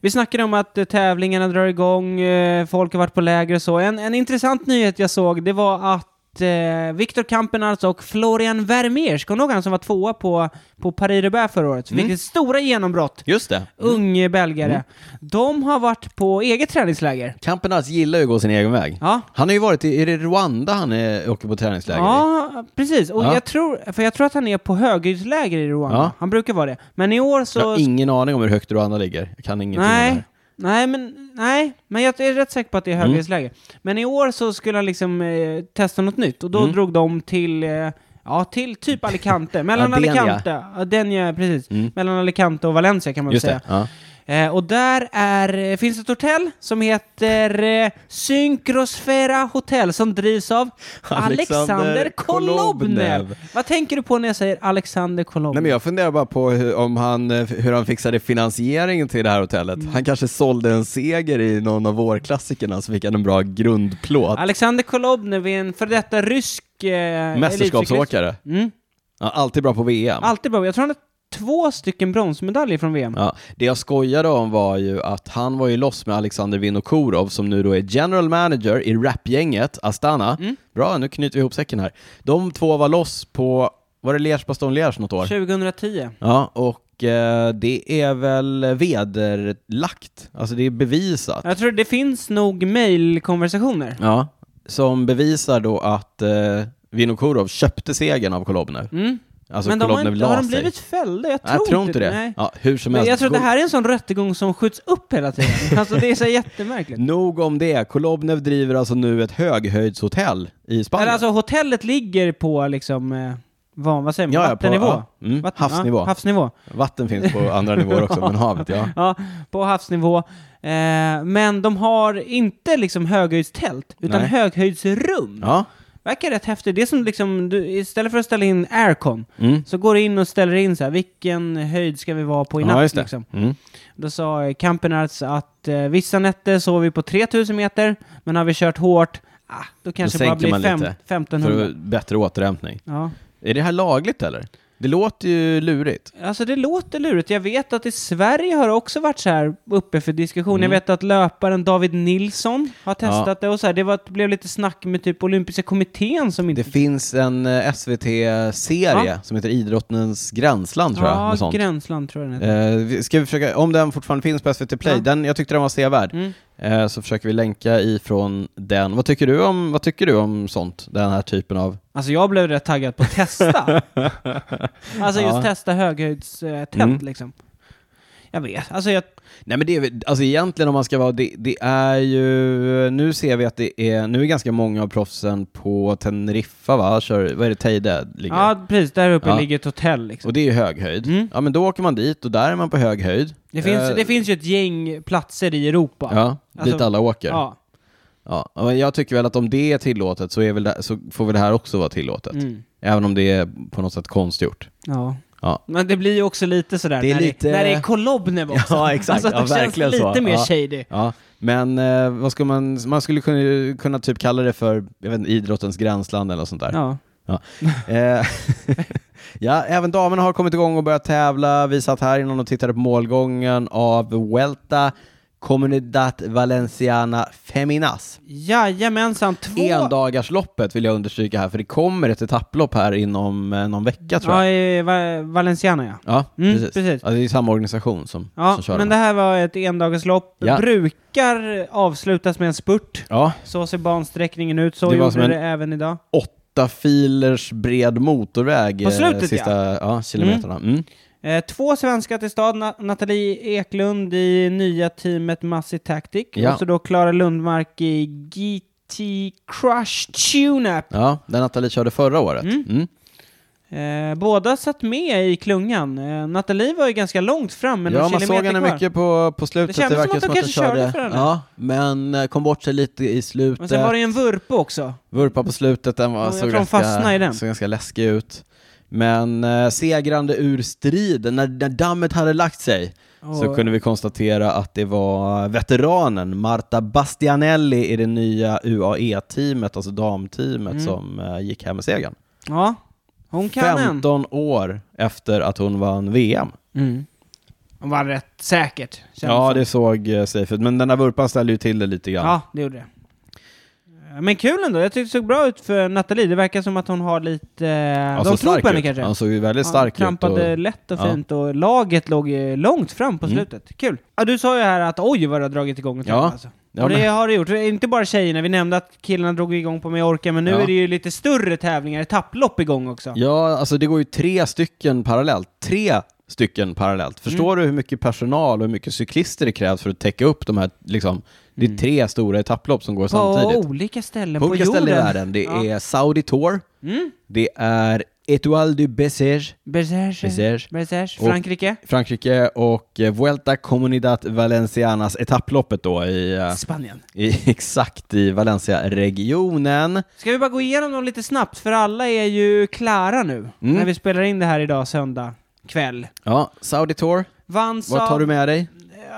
Speaker 2: Vi snackade om att eh, tävlingarna drar igång, eh, folk har varit på läger och så. En, en intressant nyhet jag såg, det var att eh, Viktor Kampenarts och Florian Vermeers, kommer du ihåg han som var tvåa på, på Paris-Roubaix förra året?
Speaker 1: Mm.
Speaker 2: Vilket stora genombrott!
Speaker 1: Just det.
Speaker 2: Ung belgare.
Speaker 1: Mm.
Speaker 2: De har varit på eget träningsläger.
Speaker 1: Campenaz gillar ju att gå sin egen väg.
Speaker 2: Ja.
Speaker 1: Han har ju varit i, är det Rwanda han är, åker på träningsläger i?
Speaker 2: Ja, precis. Och
Speaker 1: Ja.
Speaker 2: jag, tror, för jag tror att han är på höghöjdsläger i Rwanda.
Speaker 1: Ja.
Speaker 2: Han brukar vara det. Men i år
Speaker 1: Jag har
Speaker 2: så...
Speaker 1: ingen aning om hur högt Rwanda ligger. Jag kan ingenting om
Speaker 2: Nej,
Speaker 1: det Mm.
Speaker 2: nej, men, nej, men jag är rätt säker på att det är höghöjdsläger. Men i år så skulle han liksom eh, testa något nytt och då
Speaker 1: Mm.
Speaker 2: drog de till, eh, ja, till typ Alicante. Mellan
Speaker 1: Adenia.
Speaker 2: Alicante, Adenia, precis. Mellan Alicante och Valencia kan man
Speaker 1: här.
Speaker 2: väl
Speaker 1: Mm. Just
Speaker 2: säga.
Speaker 1: det. Ja.
Speaker 2: Eh, och där är, eh, finns ett hotell som heter eh, Synkrosfera Hotel som drivs av
Speaker 1: Alexander
Speaker 2: Alexander, Kolobnev.
Speaker 1: Kolobnev.
Speaker 2: Vad tänker du på när jag säger Alexander Kolobnev?
Speaker 1: Nej, men jag funderar bara på hur, om han, eh, hur han fixade finansieringen till det här hotellet.
Speaker 2: Mm.
Speaker 1: Han kanske sålde en seger i någon av vårklassikerna så fick han en bra grundplåt.
Speaker 2: Alexander Kolobnev är en före detta rysk eh, elitcyklist.
Speaker 1: Mästerskapsåkare.
Speaker 2: Mm.
Speaker 1: Ja, alltid bra på VM.
Speaker 2: Alltid bra. Jag tror han har två stycken bronsmedaljer från VM.
Speaker 1: Ja, det jag skojade om var ju att han var ju loss med Alexander Vinokurov som nu då är general manager i rapgänget Astana.
Speaker 2: Mm.
Speaker 1: Bra, nu knyter vi ihop säcken här. De två var loss på, var det Liège Bastogne Liège något år?
Speaker 2: 2010.
Speaker 1: Ja, och eh, det är väl vederlagt, alltså det är bevisat.
Speaker 2: Jag tror det finns nog mejlkonversationer.
Speaker 1: Ja, som bevisar då att eh, Vinokurov köpte segern av Kolobnev.
Speaker 2: Mm.
Speaker 1: Alltså
Speaker 2: men de har,
Speaker 1: Kolobnev
Speaker 2: inte, har
Speaker 1: la
Speaker 2: de
Speaker 1: sig.
Speaker 2: blivit fällda? Jag tror,
Speaker 1: Nej, jag tror inte det.
Speaker 2: Nej.
Speaker 1: Ja, hur som
Speaker 2: Men
Speaker 1: helst.
Speaker 2: jag tror att
Speaker 1: Go-
Speaker 2: det här är en sån rättegång som skjuts upp hela tiden. Alltså det är så jättemärkligt.
Speaker 1: Nog om det. Kolobnev driver alltså nu ett höghöjdshotell i Spanien.
Speaker 2: Eller alltså hotellet ligger på liksom... eh, Van, vad säger man?
Speaker 1: Ja, ja, på-
Speaker 2: Vattennivå?
Speaker 1: ja. Mm,
Speaker 2: Vatten-
Speaker 1: havsnivå.
Speaker 2: Ja, havsnivå.
Speaker 1: Vatten finns på andra nivåer också, men havet, ja.
Speaker 2: Ja, på havsnivå. Eh, men de har inte liksom höghöjdstält, utan
Speaker 1: Nej.
Speaker 2: höghöjdsrum.
Speaker 1: Ja,
Speaker 2: Verkar rätt häftigt. Det är som liksom, du, istället för att ställa in aircon,
Speaker 1: mm.
Speaker 2: så går du in och ställer in så här, vilken höjd ska vi vara på i natt?
Speaker 1: ja just det.
Speaker 2: liksom.
Speaker 1: Mm.
Speaker 2: Då sa eh, Campenarts att eh, vissa nätter sov vi på 3000 meter, men har vi kört hårt, ah, då kanske det bara
Speaker 1: sänker
Speaker 2: blir
Speaker 1: man
Speaker 2: fem,
Speaker 1: lite.
Speaker 2: 1500.
Speaker 1: För bättre återhämtning.
Speaker 2: Ja.
Speaker 1: Är det här lagligt eller? Det låter ju lurigt.
Speaker 2: Alltså det låter lurigt. Jag vet att i Sverige har det också varit så här uppe för diskussion.
Speaker 1: Mm.
Speaker 2: Jag vet att löparen David Nilsson har testat det och så här. Det var, blev lite snack med typ olympiska kommittén som inte...
Speaker 1: Det finns en eh, SVT-serie
Speaker 2: Ja.
Speaker 1: som heter Idrottens Gränsland tror jag. något
Speaker 2: ja,
Speaker 1: sånt.
Speaker 2: Gränsland tror jag den heter.
Speaker 1: Eh, vi- ska vi försöka, om den fortfarande finns på SVT Play,
Speaker 2: Ja.
Speaker 1: den, jag tyckte den var sevärd,
Speaker 2: Mm.
Speaker 1: eh, så försöker vi länka ifrån den. Vad tycker, du om, vad tycker du om sånt? Den här typen av...
Speaker 2: Alltså jag blev rätt taggad på att testa. alltså just
Speaker 1: Ja.
Speaker 2: testa höghöjdstält
Speaker 1: Mm.
Speaker 2: liksom. Jag vet, alltså jag...
Speaker 1: Nej men det är väl- alltså egentligen om man ska vara, det, det är ju, nu ser vi att det är, nu är ganska många av proffsen på Teneriffa va, kör, vad är det, Teide ligger?
Speaker 2: Ja, precis. Där uppe
Speaker 1: Ja.
Speaker 2: ligger ett hotell liksom.
Speaker 1: Och det är ju hög höjd.
Speaker 2: Mm.
Speaker 1: Ja men då åker man dit och där är man på hög höjd.
Speaker 2: Det finns,
Speaker 1: Eh,
Speaker 2: det finns ju ett gäng platser i Europa.
Speaker 1: Ja, dit
Speaker 2: Alltså,
Speaker 1: alla åker.
Speaker 2: Ja.
Speaker 1: Ja, men jag tycker väl att om det är tillåtet så, är väl det, så får väl det här också vara tillåtet.
Speaker 2: Mm.
Speaker 1: Även om det är på något sätt konstgjort.
Speaker 2: ja.
Speaker 1: Ja.
Speaker 2: Men det blir ju också lite sådär
Speaker 1: Det är
Speaker 2: när,
Speaker 1: lite-
Speaker 2: det, när det är Kolobnev också.
Speaker 1: Ja, exakt.
Speaker 2: Alltså, det
Speaker 1: Ja,
Speaker 2: känns
Speaker 1: verkligen
Speaker 2: lite
Speaker 1: så.
Speaker 2: mer
Speaker 1: Ja.
Speaker 2: shady.
Speaker 1: Ja, men eh, vad skulle man, man skulle kunna, kunna typ kalla det för, jag vet inte, idrottens gränsland eller något sånt där.
Speaker 2: Ja.
Speaker 1: Eh, ja, även damerna har kommit igång och börjat tävla. Vi satt här innan och tittade på målgången av Vuelta Comunidad Valenciana Feminas.
Speaker 2: Jajamensan, två...
Speaker 1: Endagarsloppet vill jag understryka här, för det kommer ett etapplopp här inom eh, någon vecka tror jag.
Speaker 2: Ja, i Va- Valenciana ja.
Speaker 1: Ja,
Speaker 2: Mm,
Speaker 1: precis.
Speaker 2: precis.
Speaker 1: Ja, det är samma organisation som,
Speaker 2: Ja,
Speaker 1: som kör
Speaker 2: men
Speaker 1: de
Speaker 2: det
Speaker 1: här.
Speaker 2: här var ett endagarslopp.
Speaker 1: Ja.
Speaker 2: Brukar avslutas med en spurt.
Speaker 1: Ja,
Speaker 2: Så ser bansträckningen ut, så
Speaker 1: Det var
Speaker 2: gjorde
Speaker 1: som en-
Speaker 2: det även idag.
Speaker 1: åtta filers bred motorväg
Speaker 2: På
Speaker 1: eh,
Speaker 2: slutet,
Speaker 1: sista ja. kilometrarna. Mm.
Speaker 2: Eh, två svenskar till stad, Na- Nathalie Eklund i nya teamet Massi Tactic,
Speaker 1: Ja.
Speaker 2: och så då Klara Lundmark i GT Crush Tune-Up.
Speaker 1: Ja, den Nathalie körde förra året.
Speaker 2: Mm.
Speaker 1: Mm.
Speaker 2: Eh, båda satt med i klungan. Eh, Nathalie var ju ganska långt fram, men
Speaker 1: ja,
Speaker 2: någon
Speaker 1: man såg
Speaker 2: kilometer
Speaker 1: henne
Speaker 2: kvar.
Speaker 1: mycket på, på slutet.
Speaker 2: Det kändes som
Speaker 1: verkar
Speaker 2: att de kanske körde för henne.
Speaker 1: Ja, men eh, kom bort sig lite i
Speaker 2: Men
Speaker 1: slutet.
Speaker 2: sen var det ju en vurpa också.
Speaker 1: Vurpa på slutet, den var,
Speaker 2: Ja, jag
Speaker 1: såg,
Speaker 2: tror de fastnade i
Speaker 1: ganska,
Speaker 2: den.
Speaker 1: såg ganska läskig ut. Men eh, segrande ur striden, när, när dammet hade lagt sig, så
Speaker 2: Och-
Speaker 1: kunde vi konstatera att det var veteranen Marta Bastianelli i det nya UAE-teamet, alltså damteamet,
Speaker 2: Mm.
Speaker 1: som eh, gick hem med segern.
Speaker 2: Ja, hon kan en.
Speaker 1: 15 år efter att hon vann VM.
Speaker 2: Mm. Hon var rätt säkert. kändes
Speaker 1: Ja,
Speaker 2: som.
Speaker 1: det såg eh, safe ut, men den där vurpan ställde ju till det lite grann.
Speaker 2: Ja, det gjorde det. Eh, Men kul ändå. Jag tyckte det såg bra ut för Nathalie. Det verkar som att hon har lite... eh,
Speaker 1: Han såg
Speaker 2: De tror
Speaker 1: Alltså, stark
Speaker 2: på henne
Speaker 1: ut.
Speaker 2: kanske.
Speaker 1: Han såg ju väldigt
Speaker 2: Ja,
Speaker 1: stark ut.
Speaker 2: trampade lätt och
Speaker 1: Ja.
Speaker 2: fint och laget låg eh, långt fram på
Speaker 1: Mm.
Speaker 2: slutet. Kul! Ja, du sa ju här att oj vad det har dragit igång ett
Speaker 1: Ja.
Speaker 2: tag, alltså.
Speaker 1: Ja,
Speaker 2: och det
Speaker 1: men-
Speaker 2: har det gjort. Inte bara tjejerna, vi nämnde att killarna drog igång på Mallorca, men nu
Speaker 1: Ja.
Speaker 2: är det ju lite större tävlingar, etapplopp igång också.
Speaker 1: Ja, alltså det går ju tre stycken parallellt. Tre stycken parallellt.
Speaker 2: Mm.
Speaker 1: Förstår du hur mycket personal och hur mycket cyklister det krävs för att täcka upp de här, liksom, det är tre stora etapplopp som går
Speaker 2: Mm. på
Speaker 1: samtidigt.
Speaker 2: olika ställen
Speaker 1: På
Speaker 2: på,
Speaker 1: olika
Speaker 2: jorden.
Speaker 1: ställen i världen. Det
Speaker 2: Ja.
Speaker 1: är Saudi Tour,
Speaker 2: Mm.
Speaker 1: det är Étoile du Bessège,
Speaker 2: Bersage,
Speaker 1: Bessège,
Speaker 2: Bersage,
Speaker 1: Och-
Speaker 2: Frankrike,
Speaker 1: Frankrike och eh, Vuelta Comunidad Valencianas etapploppet då i, eh,
Speaker 2: Spanien.
Speaker 1: i exakt i Valencia-regionen.
Speaker 2: Ska vi bara gå igenom dem lite snabbt, för alla är ju klara nu,
Speaker 1: Mm.
Speaker 2: när vi spelar in det här idag söndag kväll.
Speaker 1: Ja, Saudi Tour,
Speaker 2: Vanns
Speaker 1: vad tar
Speaker 2: av-
Speaker 1: du med dig?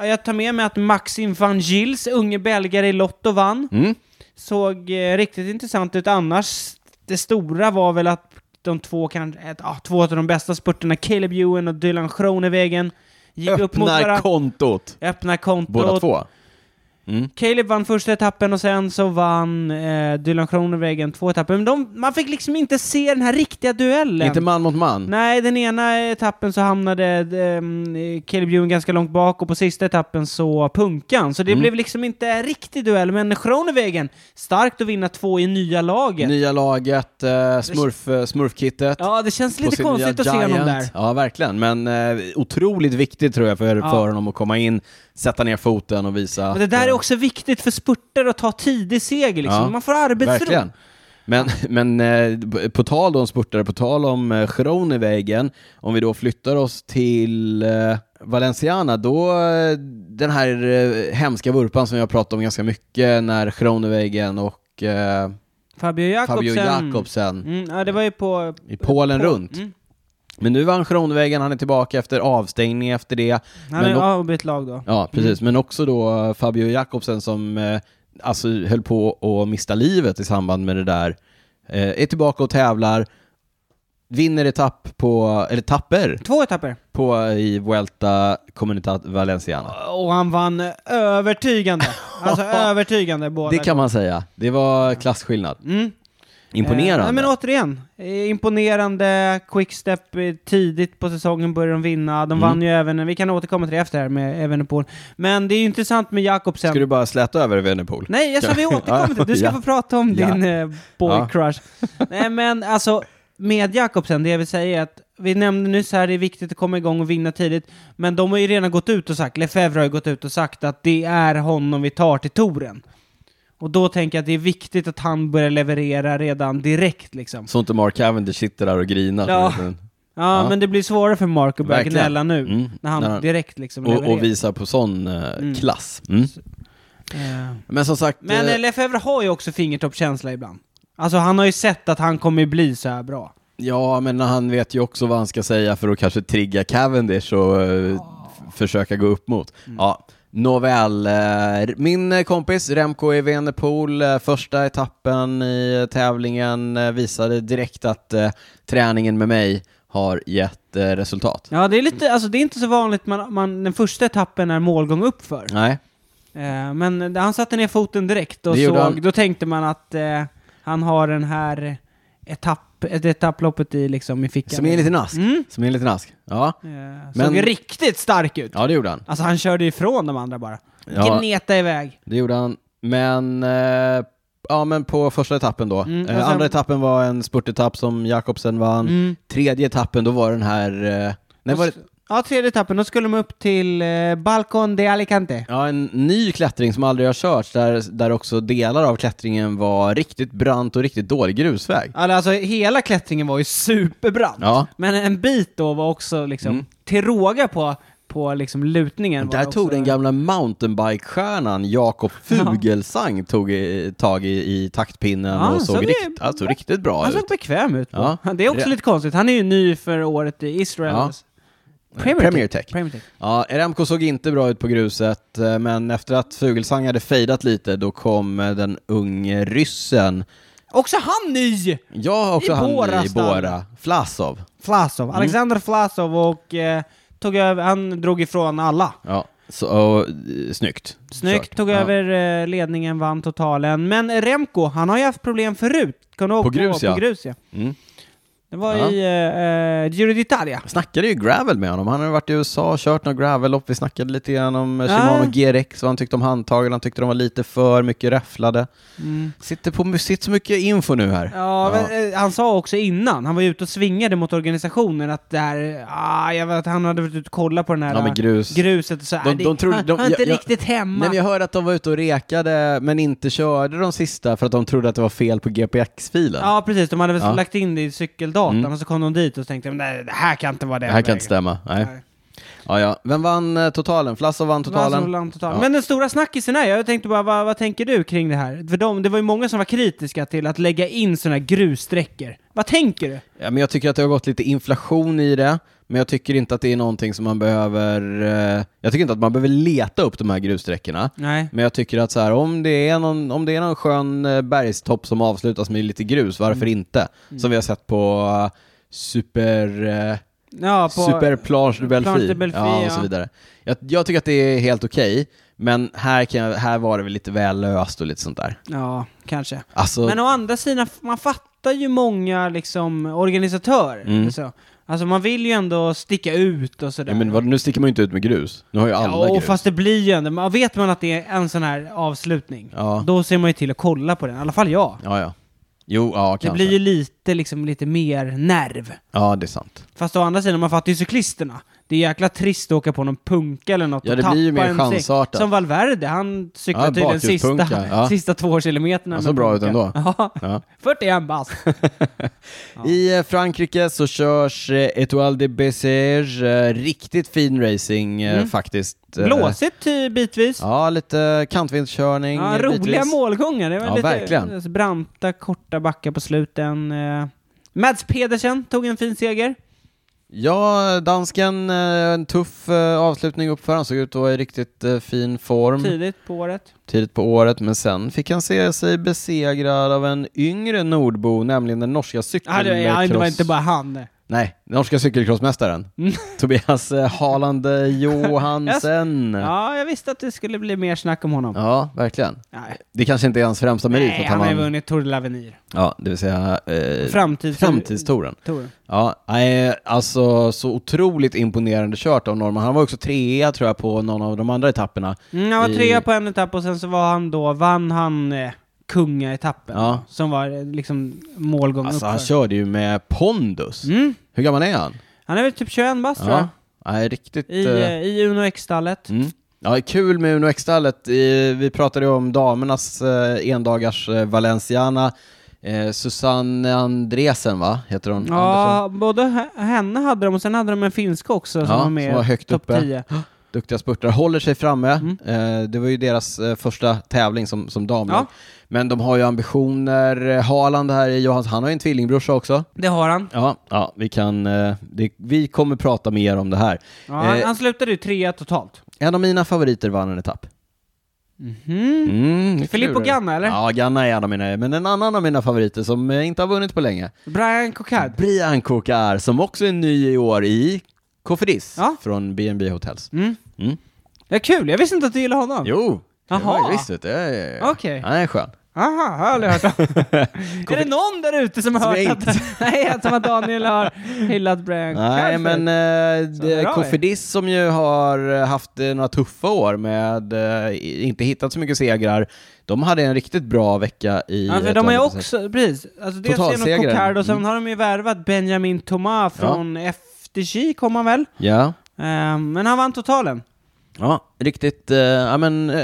Speaker 2: Ja, Jag tar med mig att Maxim van Gils, unge belgare i Lotto, vann.
Speaker 1: Mm.
Speaker 2: Såg eh, riktigt intressant ut annars. Det stora var väl att de två, kan, ett, ah, två av de bästa spurterna, Caleb Ewan och Dylan Groenewegen, gick upp mot
Speaker 1: Öppnar
Speaker 2: varandra.
Speaker 1: kontot,
Speaker 2: öppna kontot.
Speaker 1: båda två. Mm.
Speaker 2: Caleb vann första etappen och sen så vann eh, Dylan Groenewegen två etapper. Men de, man fick liksom inte se den här riktiga duellen.
Speaker 1: Inte man mot man.
Speaker 2: Nej, den ena etappen så hamnade um, Caleb Ewan ganska långt bak och på sista etappen så punkan. Så
Speaker 1: Mm.
Speaker 2: det blev liksom inte en riktig duell, men Groenewegen, starkt att vinna två i nya laget.
Speaker 1: Nya laget, eh, smurf, eh, smurfkittet.
Speaker 2: ja, det känns
Speaker 1: på
Speaker 2: lite
Speaker 1: sin nya
Speaker 2: konstigt att se honom
Speaker 1: Giant.
Speaker 2: där.
Speaker 1: Ja, verkligen. Men eh, otroligt viktigt tror jag för,
Speaker 2: Ja.
Speaker 1: för honom att komma in, sätta ner foten och visa.
Speaker 2: Men det
Speaker 1: att,
Speaker 2: där är
Speaker 1: eh,
Speaker 2: också viktigt för spurter att ta tidig seger liksom.
Speaker 1: Ja,
Speaker 2: Man får arbetsro.
Speaker 1: Verkligen. Men, men eh, b- på tal om spurtare, på tal om eh, Giron i vägen, om vi då flyttar oss till eh, Valenciana, då eh, den här eh, hemska vurpan som jag pratat om ganska mycket när Giron i vägen och eh,
Speaker 2: Fabio Jakobsen.
Speaker 1: Fabio Jakobsen
Speaker 2: Mm, ja, det var ju på...
Speaker 1: i Polen
Speaker 2: på-
Speaker 1: runt.
Speaker 2: Mm.
Speaker 1: Men nu vann Giron i vägen, han är tillbaka efter avstängning efter det.
Speaker 2: Han
Speaker 1: Men
Speaker 2: är
Speaker 1: o-
Speaker 2: ja, bytt lag då.
Speaker 1: Ja, precis. Men också då eh, Fabio Jakobsen som eh, alltså höll på att mista livet i samband med det där. Eh, är tillbaka och tävlar, vinner etapp på, eller tapper
Speaker 2: Två etapper.
Speaker 1: på i Vuelta Comunitat Valenciana.
Speaker 2: Och han vann övertygande. Alltså övertygande båda.
Speaker 1: Det kan man säga. Det var klasskillnad.
Speaker 2: Mm. Eh, nej,
Speaker 1: Imponerande.
Speaker 2: men återigen, eh, imponerande quickstep eh, tidigt på säsongen började de vinna. De
Speaker 1: Mm.
Speaker 2: vann ju även, vi kan återkomma till det efter här med Evenepoel. Men det är ju intressant med Jakobsen.
Speaker 1: Ska du bara släta över Venepool?
Speaker 2: Nej, jag sa vi återkommer till det. Du ska
Speaker 1: Ja.
Speaker 2: få prata om
Speaker 1: Ja.
Speaker 2: din eh, boy
Speaker 1: Ja.
Speaker 2: crush. Nej, men alltså med Jakobsen, det jag vill säga är att vi nämnde nyss här, det är viktigt att komma igång och vinna tidigt, men de har ju redan gått ut och sagt, Lefebvre har ju gått ut och sagt att det är honom vi tar till touren. Och då tänker jag att det är viktigt att han börjar leverera redan direkt liksom.
Speaker 1: Så inte Mark Cavendish sitter där och grinar.
Speaker 2: Ja. Ja,
Speaker 1: Ja.
Speaker 2: men det blir svårare för Mark att börja
Speaker 1: Verkligen.
Speaker 2: gnälla nu,
Speaker 1: Mm.
Speaker 2: när han
Speaker 1: När han-
Speaker 2: direkt liksom
Speaker 1: Och,
Speaker 2: levererar.
Speaker 1: och visar på sån eh, klass. Mm.
Speaker 2: Eh.
Speaker 1: Men som sagt...
Speaker 2: Men
Speaker 1: eh,
Speaker 2: eh, Lefebvre har ju också fingertoppskänsla ibland. Alltså han har ju sett att han kommer bli så här bra.
Speaker 1: Ja, men han vet ju också vad han ska säga för att kanske trigga Cavendish och eh,
Speaker 2: Ah.
Speaker 1: f- försöka gå upp mot.
Speaker 2: Mm.
Speaker 1: Ja. Nåväl, eh, min eh, kompis Remco Evenepoel, eh, första etappen i eh, tävlingen eh, visade direkt att eh, träningen med mig har gett eh, resultat.
Speaker 2: Ja, det är lite,
Speaker 1: Mm.
Speaker 2: alltså det är inte så vanligt man, man den första etappen är målgång uppför.
Speaker 1: Nej,
Speaker 2: Eh, men han satte ner foten direkt och
Speaker 1: Det
Speaker 2: såg,
Speaker 1: gjorde han.
Speaker 2: då tänkte man att eh, han har den här etapp, ett etapploppet i liksom i fickan.
Speaker 1: som är en liten ask.
Speaker 2: Mm.
Speaker 1: Som är en liten ask. Ja.
Speaker 2: Eh, såg
Speaker 1: Men-
Speaker 2: riktigt stark ut.
Speaker 1: ja, det gjorde han.
Speaker 2: Alltså han körde ifrån de andra bara.
Speaker 1: Ja.
Speaker 2: Gneta iväg.
Speaker 1: Det gjorde han. Men, eh, ja, men på första etappen då.
Speaker 2: Mm, och
Speaker 1: eh,
Speaker 2: sen-
Speaker 1: andra etappen var en spurtetapp som Jakobsen vann.
Speaker 2: Mm.
Speaker 1: Tredje etappen, då var den här... Eh, nej, var det,
Speaker 2: Ja, tredje etappen, då skulle de upp till eh, Balcon de Alicante.
Speaker 1: ja, en ny klättring som aldrig har körts, där, där också delar av klättringen var riktigt brant och riktigt dålig grusväg.
Speaker 2: Alltså hela klättringen var ju superbrant.
Speaker 1: Ja. Mm.
Speaker 2: Men en bit då var också liksom, till råga på, på liksom lutningen. var
Speaker 1: Där
Speaker 2: det
Speaker 1: tog
Speaker 2: också-
Speaker 1: den gamla mountainbike-stjärnan Jakob Fugelsang tog i, tag i, i taktpinnen
Speaker 2: Ja,
Speaker 1: och såg
Speaker 2: så det-
Speaker 1: rikt, alltså, riktigt bra
Speaker 2: Han
Speaker 1: ut.
Speaker 2: såg bekväm ut. på.
Speaker 1: Ja.
Speaker 2: Det är också
Speaker 1: Re-
Speaker 2: lite konstigt. Han är ju ny för året i Israel. Alltså.
Speaker 1: Ja.
Speaker 2: Premier,
Speaker 1: Premier Tech.
Speaker 2: Premier Tech.
Speaker 1: Ja, Remco såg inte bra ut på gruset, eh, men efter att Fugelsang hade fejdat lite, då kom eh, den unge ryssen.
Speaker 2: Också han ny!
Speaker 1: Ja, också
Speaker 2: I
Speaker 1: han
Speaker 2: Bora
Speaker 1: i
Speaker 2: stall.
Speaker 1: Bora. Flasov.
Speaker 2: Flasov.
Speaker 1: Mm.
Speaker 2: Alexander Flasov och eh, tog över, han drog ifrån alla.
Speaker 1: Ja, så, och, eh, snyggt.
Speaker 2: Snyggt,
Speaker 1: Kört.
Speaker 2: tog
Speaker 1: Ja.
Speaker 2: över eh, ledningen, vann totalen. Men Remco, han har ju haft problem förut. Kan du ihåg
Speaker 1: På grus,
Speaker 2: på,
Speaker 1: ja.
Speaker 2: på grus ja.
Speaker 1: Mm.
Speaker 2: Det var
Speaker 1: Ja.
Speaker 2: i eh, eh, Giro d'Italia.
Speaker 1: Jag snackade ju gravel med honom. Han har varit i USA och kört några gravellopp. Vi snackade lite grann om eh,
Speaker 2: Ja.
Speaker 1: Shimano GRX, vad han tyckte om handtagen. Han tyckte de var lite för mycket räfflade. Sitter på sitter så mycket info nu här.
Speaker 2: Mm. Ja, Men, eh, han sa också innan, han var ju ute och svingade mot organisationen att det här, ah, jag vet, att han hade varit ute och kollat på den här
Speaker 1: Ja, men grus.
Speaker 2: gruset och så här,
Speaker 1: De- de
Speaker 2: det-
Speaker 1: tror-
Speaker 2: han,
Speaker 1: de-
Speaker 2: han är inte
Speaker 1: jag- jag-
Speaker 2: riktigt hemma.
Speaker 1: Nej, men jag hörde att de var ute och rekade, men inte körde de sista för att de trodde att det var fel på GPX-filen.
Speaker 2: Ja precis, de hade väl
Speaker 1: Ja.
Speaker 2: lagt in det i cykeldatan
Speaker 1: Mm.
Speaker 2: och så kom de dit och så tänkte de, nej det här kan inte vara den
Speaker 1: Det här kan
Speaker 2: vägen."
Speaker 1: inte stämma. Nej.
Speaker 2: Nej.
Speaker 1: Ja, ja. Vem vann eh, totalen? Flasso vann
Speaker 2: Alltså,
Speaker 1: totalen.
Speaker 2: bland totalen.
Speaker 1: Ja.
Speaker 2: Men den stora snackisen är, jag tänkte bara, vad, vad tänker du kring det här? För de, det var ju många som var kritiska till att lägga in sådana här grussträckor. Vad tänker du?
Speaker 1: Ja, men jag tycker att det har gått lite inflation i det, men jag tycker inte att det är någonting som man behöver... eh, jag tycker inte att man behöver leta upp de här grussträckorna.
Speaker 2: Nej.
Speaker 1: Men jag tycker att så här, om, det är någon, om det är någon skön eh, bergstopp som avslutas med lite grus, varför inte? Som vi har sett på eh, Super... eh,
Speaker 2: Ja, på,
Speaker 1: Super Planche de
Speaker 2: Planche
Speaker 1: Belfi.
Speaker 2: de Belfi,
Speaker 1: ja,
Speaker 2: ja.
Speaker 1: och så vidare. Jag, jag tycker att det är helt okej, men här, kan jag, här var det väl lite väl löst och lite sånt där.
Speaker 2: Ja, kanske.
Speaker 1: Alltså,
Speaker 2: Men å andra sidan, man fattar ju många liksom, organisatörer.
Speaker 1: Mm.
Speaker 2: Så. Alltså man vill ju ändå sticka ut och sådär.
Speaker 1: ja, men vad, nu sticker man ju inte ut med grus. Nu har ju alla
Speaker 2: ja, och
Speaker 1: grus.
Speaker 2: fast det blir ju ändå, man- vet man att det är en sån här avslutning,
Speaker 1: Ja.
Speaker 2: då ser man ju till att kolla på den. I alla fall jag.
Speaker 1: Ja, ja. Jo, ja,
Speaker 2: Det
Speaker 1: kanske.
Speaker 2: blir ju lite, liksom, lite mer nerv.
Speaker 1: Ja, det är sant.
Speaker 2: Fast å andra sidan, man fattar ju cyklisterna. Det är jäkla trist att åka på någon punka eller något
Speaker 1: Ja,
Speaker 2: och
Speaker 1: det blir
Speaker 2: tappa
Speaker 1: ju mer
Speaker 2: en säck.
Speaker 1: chansartat.
Speaker 2: Som Valverde, han cyklade
Speaker 1: Ja,
Speaker 2: tydligen sista,
Speaker 1: bakhjulspunka, ja.
Speaker 2: sista tvåårskilometerna
Speaker 1: Han
Speaker 2: med
Speaker 1: såg bra ut
Speaker 2: punka.
Speaker 1: ändå.
Speaker 2: Ja,
Speaker 1: Ja.
Speaker 2: 41 bast.
Speaker 1: I eh, Frankrike så körs eh, Etoile de Bessèges, eh, riktigt fin racing eh,
Speaker 2: Mm.
Speaker 1: faktiskt. Eh,
Speaker 2: Blåsigt eh, bitvis.
Speaker 1: Ja, lite kantvindskörning.
Speaker 2: Ja,
Speaker 1: eh,
Speaker 2: roliga
Speaker 1: bitvis.
Speaker 2: målgångar. Det var
Speaker 1: Ja,
Speaker 2: lite alltså,
Speaker 1: verkligen.
Speaker 2: branta, korta backar på sluten. eh. Mads Pedersen tog en fin seger.
Speaker 1: Ja, dansken, eh, en tuff eh, avslutning uppför. Han såg ut att vara i riktigt eh, fin form
Speaker 2: Tidigt på året.
Speaker 1: tidigt på året, men sen fick han se sig besegrad av en yngre nordbo, nämligen den norska
Speaker 2: Ja, det,
Speaker 1: cykelcross...
Speaker 2: ja, det var inte bara han.
Speaker 1: Nej, den norska cykelcrossmästaren. Tobias eh, Haaland eh, Johansen. ja.
Speaker 2: Ja, jag visste att det skulle bli mer snack om honom.
Speaker 1: verkligen.
Speaker 2: Nej,
Speaker 1: Det kanske inte är hans främsta merit
Speaker 2: Nej
Speaker 1: att han,
Speaker 2: han har ju
Speaker 1: vann-
Speaker 2: vunnit Tour de l'Avenir.
Speaker 1: Ja, det vill säga eh,
Speaker 2: Framtids-
Speaker 1: framtidstouren.
Speaker 2: Tour.
Speaker 1: Ja, nej, alltså så otroligt imponerande kört av Norman. Han var också trea tror jag på någon av de andra etapperna.
Speaker 2: Mm, han var
Speaker 1: I-
Speaker 2: trea på en etapp och sen så var han då, vann han eh, kungaetappen.
Speaker 1: Ja.
Speaker 2: Som var eh, liksom målgång
Speaker 1: Alltså han
Speaker 2: uppför.
Speaker 1: körde ju med pondus.
Speaker 2: Mm.
Speaker 1: Hur gammal är han?
Speaker 2: Han är väl typ 21 bast tror jag.
Speaker 1: Ja, nej, riktigt...
Speaker 2: I,
Speaker 1: eh,
Speaker 2: eh, i Uno X-stallet.
Speaker 1: Mm. Ja, kul med Uno X-stallet. Eh, Vi pratade ju om damernas eh, endagars eh, Valenciana. Eh, Susanne Andresen, va? Heter hon? Andersson.
Speaker 2: Ja, både h- henne hade de och sen hade de en finska också som
Speaker 1: Ja,
Speaker 2: var med
Speaker 1: som var högt
Speaker 2: topp Mm.
Speaker 1: uppe.
Speaker 2: 10.
Speaker 1: Duktiga spurtare. Håller sig framme. Eh, Det var ju deras eh, första tävling som, som damlag.
Speaker 2: Ja.
Speaker 1: Men de har ju ambitioner. Eh, Haaland här, är Johans, han har ju en tvillingbrorsa också.
Speaker 2: Det har han.
Speaker 1: Ja, ja vi, kan, eh, det, vi kommer prata mer om det här.
Speaker 2: Ja, han,
Speaker 1: Eh,
Speaker 2: han slutade ju trea totalt.
Speaker 1: En av mina favoriter vann en etapp. Mm,
Speaker 2: Filippo
Speaker 1: klurar.
Speaker 2: Ganna, eller?
Speaker 1: Ja, Ganna är en av mina, men en annan av mina favoriter som eh, inte har vunnit på länge.
Speaker 2: Brian Cocard.
Speaker 1: Brian Kokar, som också är ny i år i Kofferis
Speaker 2: Ja.
Speaker 1: från B&B Hotels.
Speaker 2: Mm.
Speaker 1: Mm.
Speaker 2: Det är kul, jag visste inte att du gillade honom.
Speaker 1: Jo! det
Speaker 2: Jaha.
Speaker 1: var ju Visst vet du. Ja, ja, ja.
Speaker 2: Okej.
Speaker 1: Han är skön.
Speaker 2: Aha, har aldrig hört om. är det någon där ute som har
Speaker 1: Som jag
Speaker 2: hört att, nej, att- som att Daniel har hyllat Alltså, Brian
Speaker 1: Nej,
Speaker 2: Cocard?
Speaker 1: men eh,
Speaker 2: Så bra,
Speaker 1: det-
Speaker 2: ja.
Speaker 1: Kofferis som ju har eh, haft eh, några tuffa år med eh, i- inte hittat så mycket segrar, de hade en riktigt bra vecka i...
Speaker 2: Ja, för
Speaker 1: eh,
Speaker 2: de har ju
Speaker 1: 2006.
Speaker 2: också, precis. Alltså dels är det
Speaker 1: Totalsegraren.
Speaker 2: något Cocard och sen
Speaker 1: Mm.
Speaker 2: har de ju värvat Benjamin Thomas från FDG, kom han väl?
Speaker 1: Ja.
Speaker 2: Eh, men han vann totalen.
Speaker 1: Ja, riktigt. eh, ja, men, eh,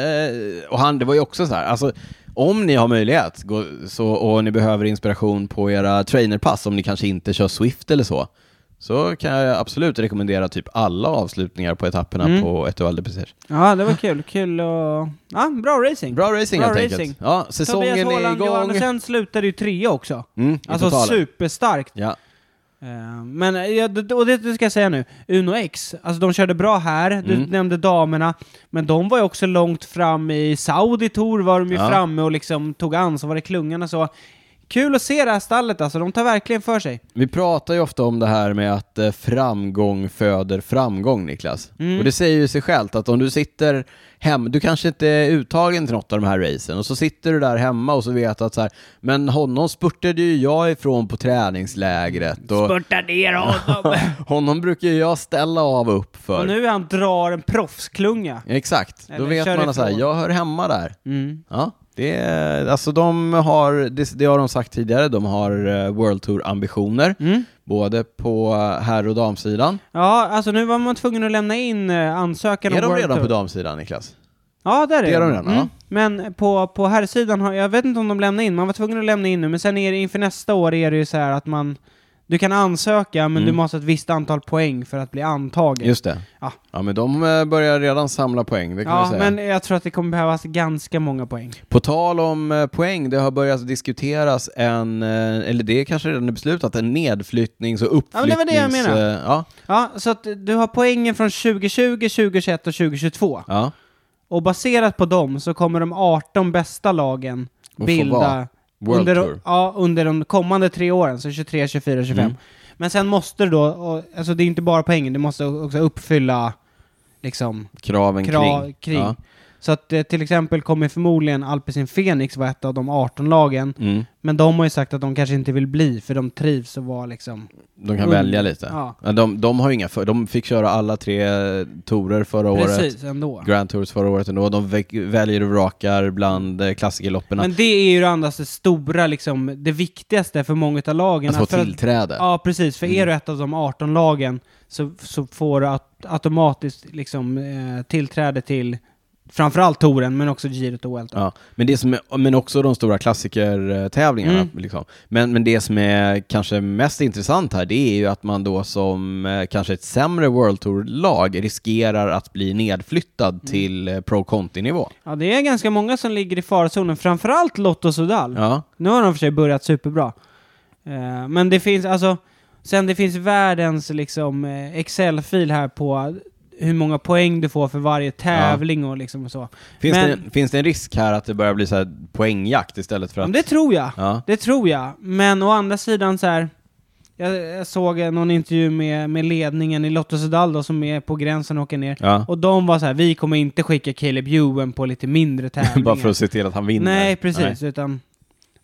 Speaker 1: och han, det var ju också så här, alltså, om ni har möjlighet gå, så, och ni behöver inspiration på era trainerpass, om ni kanske inte kör Swift eller så, så kan jag absolut rekommendera typ alla avslutningar på etapperna
Speaker 2: Mm.
Speaker 1: på Etoile de Pesers.
Speaker 2: Ja, det var kul. Kul och... Ja, bra racing.
Speaker 1: Bra racing
Speaker 2: Bra
Speaker 1: helt
Speaker 2: racing.
Speaker 1: enkelt. Ja, säsongen
Speaker 2: Tobias
Speaker 1: är
Speaker 2: Håland
Speaker 1: igång.
Speaker 2: Johansen slutade ju trea också.
Speaker 1: Mm, i
Speaker 2: Alltså
Speaker 1: totalen.
Speaker 2: superstarkt.
Speaker 1: Ja.
Speaker 2: Eh, Men, ja, d- och det det ska jag säga nu, Uno X, alltså de körde bra här, du
Speaker 1: Mm.
Speaker 2: nämnde damerna, men de var ju också långt fram i Saudi Tour var de ju
Speaker 1: Ja.
Speaker 2: framme och liksom tog ansvar i klungan och så. Kul att se det här stallet alltså, de tar verkligen för sig.
Speaker 1: Vi pratar ju ofta om det här med att eh, framgång föder framgång, Niklas.
Speaker 2: Mm.
Speaker 1: Och det säger ju sig självt att om du sitter hemma, du kanske inte är uttagen till något av de här racen, och så sitter du där hemma och så vet att så här, men honom spurtade ju jag ifrån på träningslägret och
Speaker 2: Spurta ner honom!
Speaker 1: honom brukar ju jag ställa av upp
Speaker 2: och
Speaker 1: för.
Speaker 2: nu är han drar en proffsklunga.
Speaker 1: Exakt, då
Speaker 2: Eller
Speaker 1: vet
Speaker 2: kör
Speaker 1: man att så här,
Speaker 2: ifrån.
Speaker 1: jag hör hemma där.
Speaker 2: Mm.
Speaker 1: Ja, det, är- alltså de har, det, det har de sagt tidigare, de har eh, World Tour-ambitioner,
Speaker 2: Mm.
Speaker 1: både på eh, herr och damsidan.
Speaker 2: Ja, alltså nu var man tvungen att lämna in eh, ansökan
Speaker 1: Är
Speaker 2: om
Speaker 1: de
Speaker 2: World
Speaker 1: redan
Speaker 2: Tour.
Speaker 1: på damsidan, Niklas?
Speaker 2: Ja, där är, Mm.
Speaker 1: Det är de redan, ja.
Speaker 2: Men på, på här sidan har, jag vet inte om de lämnar in, man var tvungen att lämna in nu, men sen är det inför nästa år är det ju så här att man, du kan ansöka men du måste ha ett visst antal poäng för att bli antagen.
Speaker 1: Mm. Just det.
Speaker 2: Ja.
Speaker 1: Ja, men de eh, börjar redan samla poäng, det kan
Speaker 2: ja,
Speaker 1: jag säga.
Speaker 2: men jag tror att det kommer behövas ganska många poäng.
Speaker 1: På tal om eh, poäng, det har börjat diskuteras en, eh, eller det kanske redan är beslutat, en nedflyttnings och
Speaker 2: men
Speaker 1: uppflyttnings...
Speaker 2: det var det jag menade.
Speaker 1: eh, Ja,
Speaker 2: Ja, så att du har poängen från 2020, 2021 och 2022.
Speaker 1: ja.
Speaker 2: Och baserat på dem så kommer de 18 bästa lagen
Speaker 1: få
Speaker 2: bilda
Speaker 1: vara World
Speaker 2: under,
Speaker 1: Tour. Mm.
Speaker 2: Ja, under de kommande tre åren, så 23, 24, 25. Men sen måste du då, och, alltså det är inte bara poängen, du måste också uppfylla liksom
Speaker 1: Kraven
Speaker 2: krav
Speaker 1: kring.
Speaker 2: kring.
Speaker 1: Ja.
Speaker 2: Så att eh, till exempel kommer förmodligen Alpecin Phoenix vara ett av de 18 lagen,
Speaker 1: Mm.
Speaker 2: men de har ju sagt att de kanske inte vill bli, för de trivs och vara liksom...
Speaker 1: De kan
Speaker 2: Mm.
Speaker 1: välja lite.
Speaker 2: Ja.
Speaker 1: Men De, de har ju inga för, de fick köra alla tre tourer förra året.
Speaker 2: Precis, ändå.
Speaker 1: Grand Tours förra året ändå. De väck- väljer och vrakar bland eh, klassikerlopperna.
Speaker 2: Men det är ju det andra det stora, liksom, det viktigaste för många av lagen.
Speaker 1: att få
Speaker 2: för att-
Speaker 1: tillträde.
Speaker 2: Ja, precis. För
Speaker 1: Mm.
Speaker 2: är du ett av de 18 lagen så, så får du att, automatiskt liksom, eh, tillträde till framförallt touren, men också girot och Vuelta.
Speaker 1: Ja, men, det som är, men också de stora klassikertävlingarna.
Speaker 2: Mm.
Speaker 1: Liksom. Men, men det som är kanske mest intressant här, det är ju att man då som eh, kanske ett sämre World Tour-lag riskerar att bli nedflyttad
Speaker 2: Mm.
Speaker 1: till eh, Pro Conti-nivå.
Speaker 2: Ja, det är ganska många som ligger i farozonen, framförallt Lotto Sudal.
Speaker 1: Ja.
Speaker 2: Nu har de för sig börjat superbra. Eh, men det finns, alltså, sen det finns världens liksom, eh, Excel-fil här på hur många poäng du får för varje tävling och liksom och så.
Speaker 1: Finns,
Speaker 2: Men-
Speaker 1: det, finns det en risk här att det börjar bli så här poängjakt istället för
Speaker 2: Ja,
Speaker 1: att...
Speaker 2: men det tror jag.
Speaker 1: Ja.
Speaker 2: Det tror jag. Men å andra sidan så här. Jag, jag såg eh, någon intervju med, med ledningen i Lotto Sudal då, som är på gränsen och åker ner.
Speaker 1: Ja.
Speaker 2: Och de var så här, vi kommer inte skicka Caleb Ewan på lite mindre tävlingar.
Speaker 1: Bara för att se till att han vinner.
Speaker 2: Nej, precis. Utan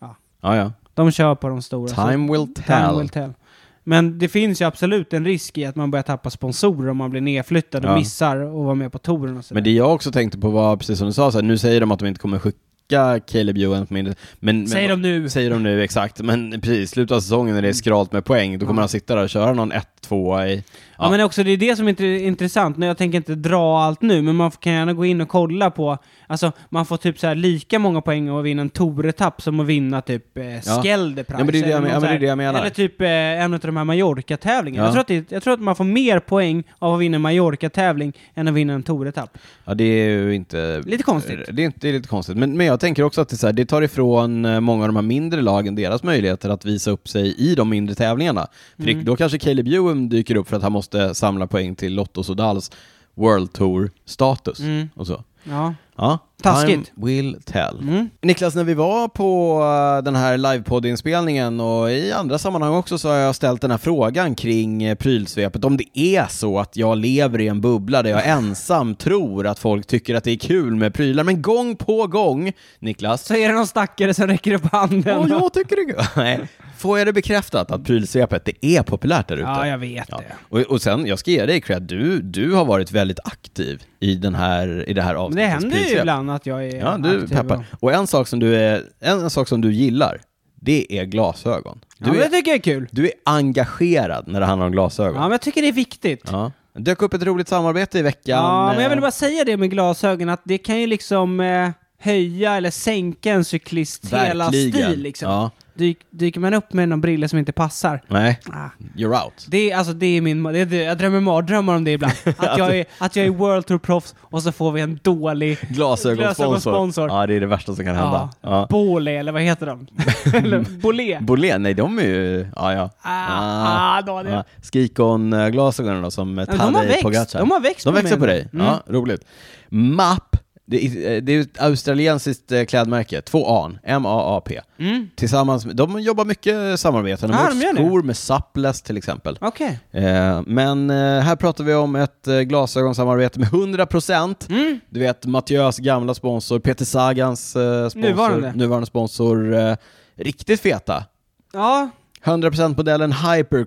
Speaker 1: Ja, ja.
Speaker 2: de kör på de stora. så-
Speaker 1: Time will tell.
Speaker 2: Time will tell. Men det finns ju absolut en risk i att man börjar tappa sponsorer om man blir nedflyttad och
Speaker 1: Ja.
Speaker 2: missar och vara med på touren och så
Speaker 1: Men
Speaker 2: där.
Speaker 1: det jag också tänkte på var, precis som du sa, så här, nu säger de att de inte kommer skicka Caleb Ewan på mindre... Men, men,
Speaker 2: Säger de nu.
Speaker 1: Säger de nu, exakt. Men precis, slutet av säsongen när det är skralt med poäng, då kommer han sitta där och köra någon 1-2 i...
Speaker 2: Ja. men också det är det som är int- intressant. Nej, Jag tänker inte dra allt nu, men man kan gärna gå in och kolla på... Alltså, man får typ så här lika många poäng av att vinna en Tour-etapp som att vinna typ eh, Skeldeprice.
Speaker 1: Ja, men det är det jag
Speaker 2: eller
Speaker 1: men-
Speaker 2: någon
Speaker 1: ja, men
Speaker 2: så
Speaker 1: det är
Speaker 2: här-
Speaker 1: det jag menar.
Speaker 2: Eller typ eh, en av de här Mallorca-tävlingarna.
Speaker 1: Ja.
Speaker 2: Jag, tror att det- jag tror att man får mer poäng av att vinna en Mallorca-tävling än att vinna en Tour-etapp.
Speaker 1: Ja, det är ju inte...
Speaker 2: Lite konstigt.
Speaker 1: Det är, inte, det är lite konstigt. Men, men jag tänker också att det, är så här, det tar ifrån eh, många av de här mindre lagen deras möjligheter att visa upp sig i de mindre tävlingarna. För
Speaker 2: Mm.
Speaker 1: det- då kanske Caleb Ewan dyker upp för att han måste samla poäng till Lotto Sodals World Tour-status
Speaker 2: Mm.
Speaker 1: och så.
Speaker 2: Ja.
Speaker 1: Ja,
Speaker 2: Taskigt.
Speaker 1: time will tell.
Speaker 2: Mm.
Speaker 1: Niklas, när vi var på eh, den här livepoddinspelningen och i andra sammanhang också så har jag ställt den här frågan kring eh, prylsvepet. Om det är så att jag lever i en bubbla där jag ensam tror att folk tycker att det är kul med prylar, men gång på gång, Niklas,
Speaker 2: Så är det någon stackare som räcker upp handen.
Speaker 1: "Åh, jag tycker det är kul. Nej, får jag det bekräftat att prylsvepet, det är populärt där ute?
Speaker 2: Ja, jag vet
Speaker 1: Ja.
Speaker 2: det.
Speaker 1: Och, och sen, jag ska ge dig cred, du, du har varit väldigt aktiv i, den här, i det här
Speaker 2: Men
Speaker 1: avsnittet.
Speaker 2: det händer ju ibland att jag är
Speaker 1: Ja, du
Speaker 2: aktiv
Speaker 1: peppar. Och en sak som du, är, en, en sak som du gillar, det är glasögon.
Speaker 2: Ja,
Speaker 1: Du,
Speaker 2: men det
Speaker 1: är,
Speaker 2: tycker jag är kul.
Speaker 1: du är engagerad när det handlar om
Speaker 2: Ja,
Speaker 1: glasögon.
Speaker 2: men jag tycker det är viktigt. Ja,
Speaker 1: Ja. Det dök upp ett roligt samarbete i veckan.
Speaker 2: men jag vill
Speaker 1: eh,
Speaker 2: bara säga det med glasögon, att det kan ju liksom eh, höja eller sänka en cyklist hela
Speaker 1: verkligen.
Speaker 2: stil. Liksom.
Speaker 1: Ja.
Speaker 2: Dyk, dyker man upp med någon brille som inte passar,
Speaker 1: Nej,
Speaker 2: ah,
Speaker 1: you're out.
Speaker 2: det är, alltså, det är min, ma- det är, det- jag drömmer mardrömmar om det ibland. Att jag är, att jag är World Tour-proffs och så får vi en dålig
Speaker 1: Glasögonsponsor.
Speaker 2: Glasögonsponsor.
Speaker 1: Ja, det är det värsta som kan hända.
Speaker 2: ja,
Speaker 1: Ja. Mm.
Speaker 2: Bole, eller vad heter de? eller Bolé?
Speaker 1: Bolén, nej de är ju... Ja, ja.
Speaker 2: Ah, ah, Daniel.
Speaker 1: ja. Skikon-glasögonen då som
Speaker 2: de har
Speaker 1: Tadej
Speaker 2: växt.
Speaker 1: Pogacar.
Speaker 2: De har växt
Speaker 1: De
Speaker 2: på
Speaker 1: växer
Speaker 2: mig Mm.
Speaker 1: på
Speaker 2: nu.
Speaker 1: dig. Ja, roligt. MAP, det är, eh, det är ett australiensiskt eh, klädmärke, två A'n, M-A-A-P. Tillsammans, med- de jobbar mycket samarbete, de
Speaker 2: Ah,
Speaker 1: har
Speaker 2: Mm. de
Speaker 1: gjort
Speaker 2: gör det.
Speaker 1: skor med Sapless till exempel.
Speaker 2: Okej.
Speaker 1: Eh, Men eh, här pratar vi om ett eh, glasögonsamarbete med 100%.
Speaker 2: Mm.
Speaker 1: Du vet Mattias gamla sponsor, Peter Sagans eh, sponsor,
Speaker 2: Nuvarande.
Speaker 1: nuvarande sponsor, eh, riktigt feta.
Speaker 2: Ja,
Speaker 1: 100%-modellen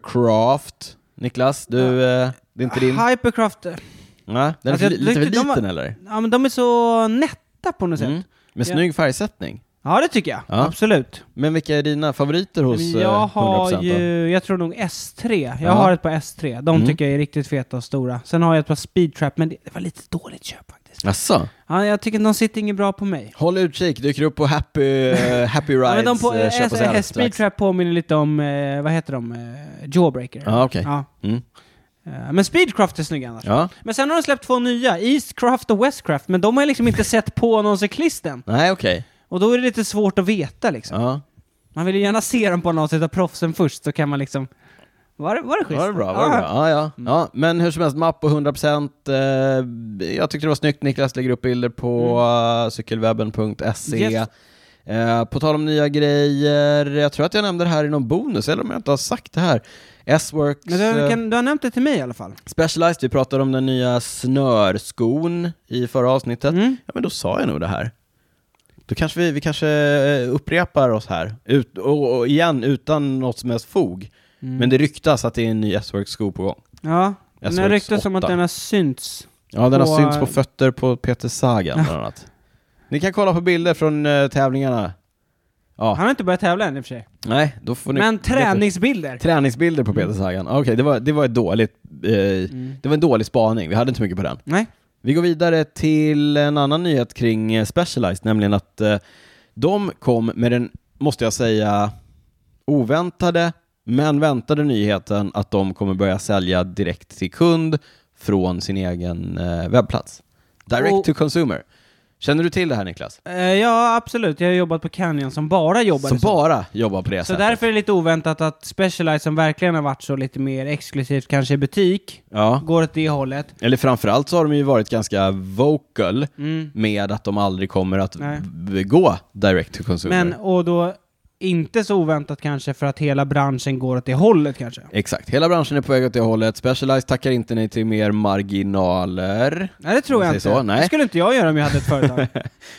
Speaker 1: Hypercraft. Niklas, du, eh, det är inte din?
Speaker 2: Hypercraft.
Speaker 1: Nej, den är
Speaker 2: Alltså,
Speaker 1: för,
Speaker 2: jag
Speaker 1: li- lite för
Speaker 2: tyckte de
Speaker 1: liten
Speaker 2: var-
Speaker 1: eller?
Speaker 2: Ja, men de är så nätta på något
Speaker 1: Mm.
Speaker 2: sätt.
Speaker 1: Med
Speaker 2: Ja.
Speaker 1: snygg färgsättning.
Speaker 2: Ja, det tycker jag.
Speaker 1: Ja.
Speaker 2: Absolut.
Speaker 1: Men vilka är dina favoriter hos eh,
Speaker 2: jag har
Speaker 1: 100%? då?
Speaker 2: ju, jag tror nog S3. Jag
Speaker 1: Ja.
Speaker 2: har ett par S3. De
Speaker 1: Mm.
Speaker 2: tycker jag är riktigt feta och stora. Sen har jag ett par Speedtrap, men det, det var lite dåligt köp faktiskt.
Speaker 1: Jaså?
Speaker 2: Ja, jag tycker de sitter inget bra på mig.
Speaker 1: Håll utkik, dyker upp på Happy, eh, happy Rides,
Speaker 2: Ja, men de på,
Speaker 1: eh,
Speaker 2: eh,
Speaker 1: köp och sälj
Speaker 2: S,
Speaker 1: strax.
Speaker 2: Speedtrap påminner lite om, eh, vad heter de, eh, Jawbreaker.
Speaker 1: Ja, okej.
Speaker 2: Ja.
Speaker 1: Mm.
Speaker 2: Eh, Men Speedcraft är snygga annars.
Speaker 1: Ja.
Speaker 2: Men sen har de släppt två nya, Eastcraft och Westcraft, men de har jag liksom inte sett på någon cyklist än.
Speaker 1: Nej, okej.
Speaker 2: Och då är det lite svårt att veta liksom.
Speaker 1: Ja.
Speaker 2: Man vill ju gärna se dem på något sätt av proffsen först, så kan man liksom... Var det, var det schysst?
Speaker 1: Var det bra? Var det
Speaker 2: Ja. Mm.
Speaker 1: bra? Ja, ja. ja, men hur som helst, mapp och 100%. Eh, jag tyckte det var snyggt. Niklas lägger upp bilder på eh, cykelwebben.se.
Speaker 2: Mm. Yes.
Speaker 1: Eh, på tal om nya grejer, jag tror att jag nämnde det här i någon bonus, eller om jag inte har sagt det här. S-Works
Speaker 2: Men du,
Speaker 1: eh,
Speaker 2: kan, du har nämnt det till mig i alla fall.
Speaker 1: Specialized, vi pratade om den nya snörskon i förra avsnittet.
Speaker 2: Mm.
Speaker 1: Ja, men då sa jag nog det här. Då kanske vi, vi kanske eh, upprepar oss här, Ut, och, och igen utan något som helst fog. Men det ryktas att det är en ny S-Works-sko på gång.
Speaker 2: Ja,
Speaker 1: Jag
Speaker 2: den
Speaker 1: såg
Speaker 2: har ryktats om att
Speaker 1: åtta.
Speaker 2: den har synts.
Speaker 1: Ja, den har
Speaker 2: På-
Speaker 1: synts på eh, fötter på Peter Sagan bland annat. Ni kan kolla på bilder från eh, tävlingarna. Ja,
Speaker 2: Han har inte börjat tävla än i och för sig.
Speaker 1: nej, då får ni...
Speaker 2: Men träningsbilder!
Speaker 1: Träningsbilder på Peter Sagan. Okej, det, var, det var ett dåligt... Eh, Det var en dålig spaning, vi hade inte så mycket på den.
Speaker 2: Nej.
Speaker 1: Vi går vidare till en annan nyhet kring eh, Specialized, nämligen att eh, de kom med den, måste jag säga, oväntade men väntade nyheten att de kommer börja sälja direkt till kund från sin egen eh, webbplats. Direct
Speaker 2: Och-
Speaker 1: to consumer. Känner du till det här Niklas?
Speaker 2: Eh, ja, absolut. Jag har jobbat på Canyon som bara jobbar
Speaker 1: Som
Speaker 2: så.
Speaker 1: bara jobbar på det
Speaker 2: så
Speaker 1: sättet.
Speaker 2: därför är det lite oväntat att Specialized som verkligen har varit så lite mer exklusivt, kanske i butik,
Speaker 1: Ja.
Speaker 2: går åt det hållet.
Speaker 1: Eller framförallt så har de ju varit ganska vocal
Speaker 2: Mm.
Speaker 1: med att de aldrig kommer att
Speaker 2: Nej.
Speaker 1: v- gå direct to consumer.
Speaker 2: Men, och då inte så oväntat kanske för att hela branschen går åt det hållet kanske.
Speaker 1: Exakt, hela branschen är på väg åt det hållet. Specialized tackar inte nej till mer marginaler.
Speaker 2: Nej, det tror
Speaker 1: Om
Speaker 2: jag
Speaker 1: man
Speaker 2: inte.
Speaker 1: säger så, nej.
Speaker 2: Det skulle inte jag göra om jag hade ett företag.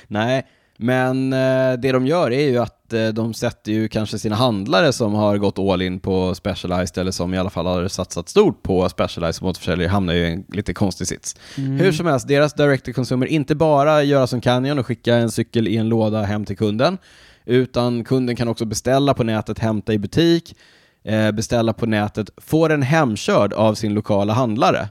Speaker 1: Nej, men eh, det de gör är ju att eh, de sätter ju kanske sina handlare som har gått all in på Specialized eller som i alla fall har satsat stort på Specialized som återförsäljare hamnar ju i en lite konstig sits. Hur som helst, deras direct to consumer, inte bara göra som Canyon och skicka en cykel i en låda hem till kunden, utan kunden kan också beställa på nätet, hämta i butik, eh, beställa på nätet, få den hemkörd av sin lokala handlare.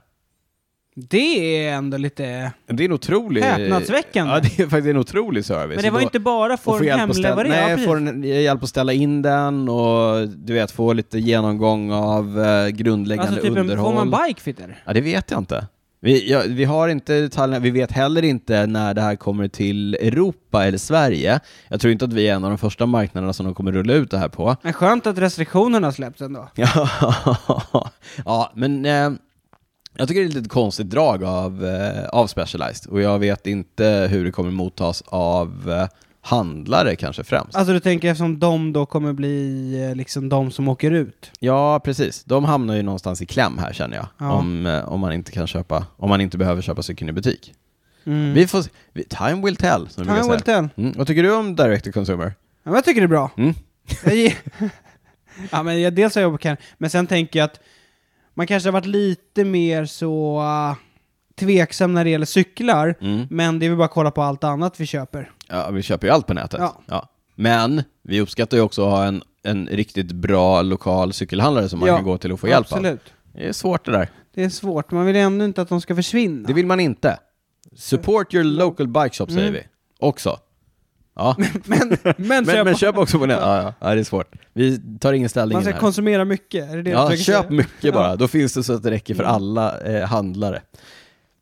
Speaker 2: det är ändå lite...
Speaker 1: Det är en otrolig...
Speaker 2: Häpnadsväckande.
Speaker 1: Ja, det är faktiskt en otrolig service.
Speaker 2: Men det var
Speaker 1: Och då-
Speaker 2: inte bara
Speaker 1: och
Speaker 2: för
Speaker 1: hjälp att ställa,
Speaker 2: hemleverera.
Speaker 1: nej,
Speaker 2: precis.
Speaker 1: får en, hjälp att ställa in den och du vet, få lite genomgång av eh, grundläggande
Speaker 2: Alltså typ en,
Speaker 1: underhåll.
Speaker 2: får man bikefitter?
Speaker 1: Ja, det vet jag inte. Vi, ja, vi har inte detaljerna, vi vet heller inte när det här kommer till Europa eller Sverige. Jag tror inte att vi är en av de första marknaderna som de kommer rulla ut det här på.
Speaker 2: Men skönt att restriktionerna släpps ändå.
Speaker 1: Ja, ja men eh, jag tycker det är ett lite konstigt drag av, eh, av Specialized och jag vet inte hur det kommer mottas av eh, handlare kanske främst.
Speaker 2: Alltså du tänker eftersom de då kommer bli eh, liksom de som åker ut?
Speaker 1: Ja, precis. De hamnar ju någonstans i kläm här känner jag.
Speaker 2: Ja.
Speaker 1: Om, eh, om man inte kan köpa, om man inte behöver köpa cykeln i butik.
Speaker 2: Mm.
Speaker 1: Vi får se. vi, Time will tell, som vi brukar
Speaker 2: Time will
Speaker 1: säga.
Speaker 2: tell.
Speaker 1: Mm. Vad tycker du om direct to consumer?
Speaker 2: Ja, men jag tycker det är bra.
Speaker 1: Mm.
Speaker 2: Jag ge- ja, men jag, dels har jag jobbat på Canyon, men sen tänker jag att man kanske har varit lite mer så uh, tveksam när det gäller cyklar,
Speaker 1: Mm.
Speaker 2: men det är väl bara att kolla på allt annat vi köper.
Speaker 1: Ja, vi köper ju allt på nätet.
Speaker 2: Ja.
Speaker 1: Men vi uppskattar ju också att ha en, en riktigt bra lokal cykelhandlare som man
Speaker 2: Ja,
Speaker 1: kan gå till och få hjälp av.
Speaker 2: Absolut.
Speaker 1: Det är svårt det där.
Speaker 2: Det är svårt, man vill ju ändå inte att de ska försvinna.
Speaker 1: Det vill man inte. Support your local bike shop säger vi. Också. Ja.
Speaker 2: Mm. Men, men,
Speaker 1: Men,
Speaker 2: köp,
Speaker 1: men köp också på nätet. Ja, ja. ja, det är svårt. Vi tar ingen ställning
Speaker 2: man
Speaker 1: in
Speaker 2: ska
Speaker 1: här.
Speaker 2: konsumera mycket, Mm. är det det du
Speaker 1: Ja,
Speaker 2: försöker
Speaker 1: köp
Speaker 2: säga?
Speaker 1: mycket bara. Då finns det så att det räcker för alla eh, handlare.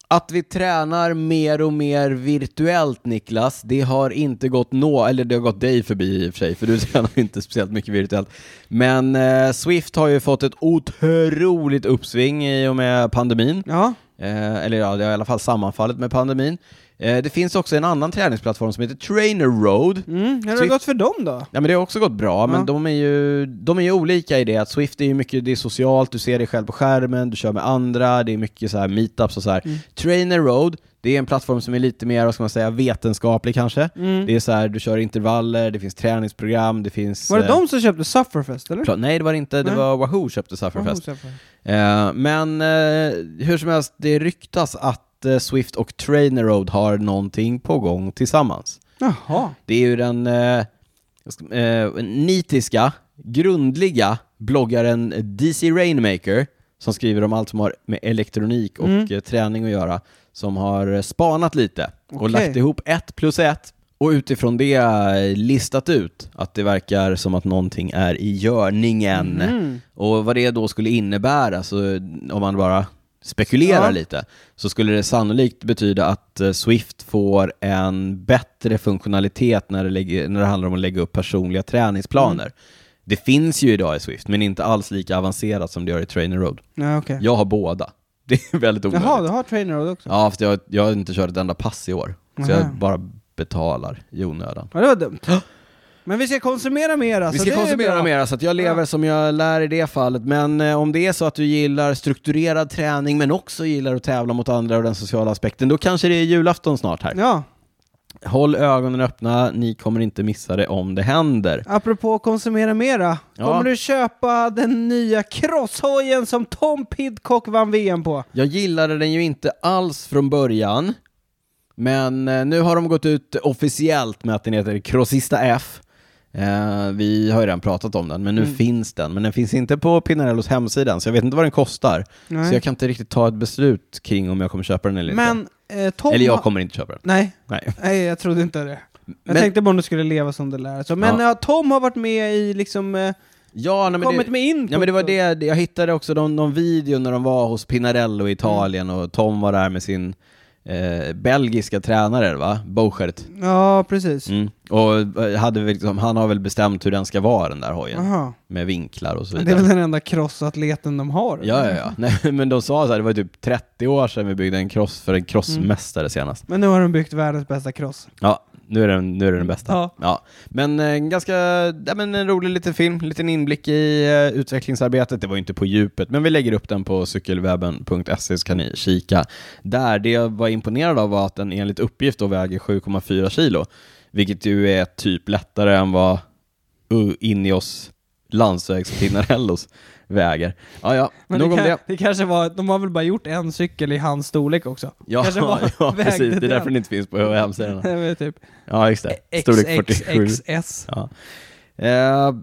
Speaker 1: Att vi tränar mer och mer virtuellt, Niklas, det har inte gått nå, eller det har gått dig förbi i och för sig, för du tränar ju inte speciellt mycket virtuellt. Men eh, Swift har ju fått ett otroligt uppsving i och med pandemin.
Speaker 2: Ja,
Speaker 1: Eh, eller ja, det har i alla fall sammanfallit med pandemin. Eh, det finns också en annan träningsplattform som heter Trainer Road.
Speaker 2: mm. hur har det
Speaker 1: Swift-
Speaker 2: gått för dem då?
Speaker 1: Ja, men det har också gått bra, men de är, ju, de är ju olika i det att Swift är ju mycket det är socialt, du ser dig själv på skärmen, du kör med andra, det är mycket så här meetups och så här.
Speaker 2: Mm.
Speaker 1: Trainer Road, det är en plattform som är lite mer, vad ska man säga, vetenskaplig kanske.
Speaker 2: Mm.
Speaker 1: Det är så här, du kör intervaller, det finns träningsprogram, det finns...
Speaker 2: Var det
Speaker 1: eh,
Speaker 2: de som köpte Sufferfest eller?
Speaker 1: pla- Nej, det var det inte. Det
Speaker 2: Nej.
Speaker 1: var Wahoo köpte Sufferfest. Eh, men eh, hur som helst, det ryktas att eh, Swift och Trainer Road har någonting på gång tillsammans.
Speaker 2: Jaha.
Speaker 1: Det är ju den eh, vad ska- eh, nitiska, grundliga bloggaren DC Rainmaker som skriver om allt som har med elektronik och eh, träning att göra, som har eh, spanat lite och
Speaker 2: Okej.
Speaker 1: lagt ihop ett plus ett och utifrån det eh, listat ut att det verkar som att någonting är i görningen.
Speaker 2: Mm.
Speaker 1: Och vad det då skulle innebära, så eh, om man bara spekulerar
Speaker 2: Ja.
Speaker 1: lite, så skulle det sannolikt betyda att eh, Swift får en bättre funktionalitet när det, lägger, när det handlar om att lägga upp personliga träningsplaner.
Speaker 2: Mm.
Speaker 1: Det finns ju idag i Swift, men inte alls lika avancerat som det gör i Trainer Road.
Speaker 2: Ja, okej.
Speaker 1: Jag har båda. Det är väldigt onödigt.
Speaker 2: Jaha, du har trainer road också?
Speaker 1: Ja, för jag, jag har inte kört ett enda pass i år, så jag
Speaker 2: Aha.
Speaker 1: bara betalar i onödan.
Speaker 2: Ja, det var dumt. Men vi ska konsumera mer alltså.
Speaker 1: vi
Speaker 2: det
Speaker 1: ska
Speaker 2: är
Speaker 1: konsumera
Speaker 2: bra.
Speaker 1: mer, så att jag lever
Speaker 2: Ja.
Speaker 1: som jag lär i det fallet. Men eh, om det är så att du gillar strukturerad träning, men också gillar att tävla mot andra och den sociala aspekten, då kanske det är julafton snart här.
Speaker 2: Ja,
Speaker 1: Håll ögonen öppna, ni kommer inte missa det om det händer.
Speaker 2: apropå konsumera mera.
Speaker 1: Ja.
Speaker 2: Kommer du köpa den nya crosshojen som Tom Pidcock vann VM på?
Speaker 1: Jag gillade den ju inte alls från början, men eh, nu har de gått ut officiellt med att den heter Crossista F. Eh, vi har ju redan pratat om den, men
Speaker 2: Mm.
Speaker 1: nu finns den. Men den finns inte på Pinarellos hemsidan, så jag vet inte vad den kostar.
Speaker 2: Nej.
Speaker 1: Så jag kan inte riktigt ta ett beslut kring om jag kommer köpa den eller inte.
Speaker 2: Men eh, Tom...
Speaker 1: Eller jag
Speaker 2: har-
Speaker 1: kommer inte köpa den.
Speaker 2: Nej,
Speaker 1: Nej.
Speaker 2: nej, jag trodde inte det. Jag
Speaker 1: Men-
Speaker 2: tänkte bara om du skulle leva som det lär. Så, men
Speaker 1: Ja.
Speaker 2: ja. Tom har varit med i liksom... Eh,
Speaker 1: Ja, nej, men
Speaker 2: kommit
Speaker 1: det,
Speaker 2: med input.
Speaker 1: Ja men det var det, det- jag hittade också någon, någon video när de var hos
Speaker 2: Mm.
Speaker 1: Pinarello i Italien och Tom var där med sin eh, belgiska tränare, va? Bochert.
Speaker 2: Ja, precis.
Speaker 1: Mm. Och eh, hade väl liksom, han har väl bestämt hur den ska vara den där hojen,
Speaker 2: Aha.
Speaker 1: med vinklar och så
Speaker 2: Men Det är väl
Speaker 1: vidare.
Speaker 2: den enda crossatleten de har?
Speaker 1: Ja, ja, ja. Nej, men de sa så här, det var typ 30 år sedan vi byggde en cross
Speaker 2: Mm.
Speaker 1: för en crossmästare senast.
Speaker 2: Men nu har de byggt världens bästa cross.
Speaker 1: Ja, nu är den, nu är den bästa.
Speaker 2: Ja.
Speaker 1: Men eh, ganska, ja, men en rolig liten film, liten inblick i eh, utvecklingsarbetet. Det var ju inte på djupet, men vi lägger upp den på cykelwebben.se så kan ni kika. Där, det jag var imponerad av var att den enligt uppgift då väger 7,4 kilo, vilket ju är typ lättare än vad uh, Ineos landsvägspinnarellos väger. Ja, ja,
Speaker 2: Men
Speaker 1: nog
Speaker 2: det,
Speaker 1: om
Speaker 2: kan,
Speaker 1: det.
Speaker 2: det. kanske var, de har väl bara gjort en cykel i hans storlek också?
Speaker 1: Ja,
Speaker 2: kanske var-
Speaker 1: ja
Speaker 2: vägde
Speaker 1: precis. Det är
Speaker 2: den.
Speaker 1: därför den inte finns på hemsidorna.
Speaker 2: Jag vet typ
Speaker 1: Ja, just det. Storlek 47.
Speaker 2: XXXS.
Speaker 1: Ja. Eh,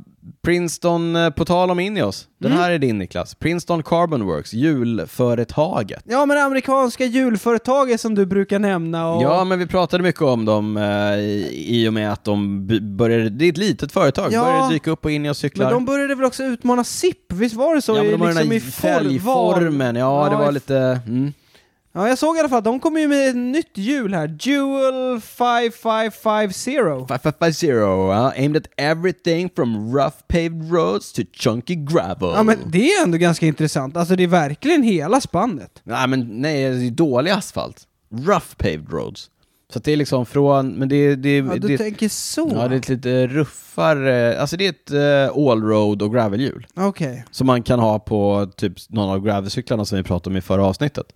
Speaker 1: Princeton, eh, på tal om Ineos, den
Speaker 2: Mm.
Speaker 1: här är din Niklas. Princeton Carbon Works, julföretaget.
Speaker 2: Ja, men det amerikanska julföretaget som du brukar nämna och...
Speaker 1: Ja, men vi pratade mycket om dem eh, i- i och med att de b- började, det är ett litet företag,
Speaker 2: Ja.
Speaker 1: började dyka upp på Ineos cyklar.
Speaker 2: men de började väl också utmana SIP? Visst var det så?
Speaker 1: ja, men
Speaker 2: I
Speaker 1: de har den
Speaker 2: liksom
Speaker 1: här
Speaker 2: i form-
Speaker 1: fälgformen, ja,
Speaker 2: Ja,
Speaker 1: det
Speaker 2: i
Speaker 1: var
Speaker 2: f-
Speaker 1: lite... Mm.
Speaker 2: Ja, jag såg i alla fall att de kom ju med ett nytt hjul här. Dual 5550.
Speaker 1: 5550, uh, aimed at everything from rough paved roads to chunky gravel.
Speaker 2: Ja, men det är ändå ganska intressant. Alltså det är verkligen hela spannet.
Speaker 1: Nej, men nej, alltså, det är ju dålig asfalt. Rough paved roads. Så att det är liksom från, men det, det,
Speaker 2: Ja, du
Speaker 1: det,
Speaker 2: tänker så?
Speaker 1: ja, det är ett lite ruffare, alltså det är ett eh, allroad och gravelhjul.
Speaker 2: Okej.
Speaker 1: Som man kan ha på typ någon av gravelcyklarna som vi pratade om i förra avsnittet.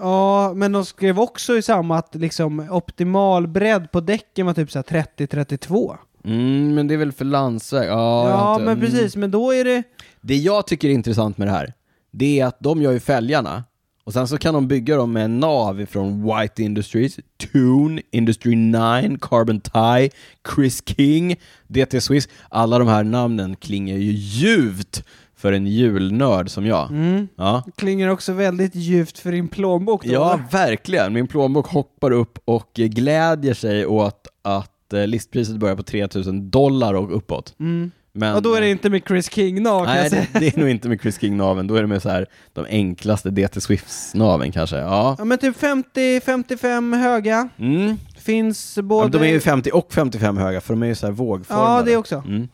Speaker 2: Ja, men de skrev också i samma att liksom optimal bredd på däcken var typ så här 30-32.
Speaker 1: Mm, men det är väl för landsväg? Ja,
Speaker 2: Ja,
Speaker 1: jag har inte-
Speaker 2: men
Speaker 1: Mm.
Speaker 2: precis. Men då är det...
Speaker 1: Det jag tycker är intressant med det här, det är att de gör ju fälgarna och sen så kan de bygga dem med nav ifrån White Industries, Tune, Industry 9, Carbon Tie, Chris King, DT Swiss. Alla de här namnen klingar ju ljuvt för en julnörd som jag.
Speaker 2: Mm.
Speaker 1: Ja.
Speaker 2: Klingar också väldigt djupt för din plånbok då.
Speaker 1: ja,
Speaker 2: eller?
Speaker 1: verkligen. Min plånbok hoppar upp och glädjer sig åt att eh, listpriset börjar på 3000 dollar och uppåt.
Speaker 2: Mm.
Speaker 1: Men,
Speaker 2: Och då är det inte med Chris King nå, kan
Speaker 1: Nej,
Speaker 2: jag säga.
Speaker 1: det, det är nog inte med Chris King-naven. Då är det med så här, de enklaste DT Swifts-naven kanske. Ja.
Speaker 2: Ja, men typ 50-55 höga.
Speaker 1: Mm.
Speaker 2: Finns
Speaker 1: Ja,
Speaker 2: både...
Speaker 1: men de är ju 50 och 55 höga, för de är ju så här vågformade.
Speaker 2: Ja, det också.
Speaker 1: Mm.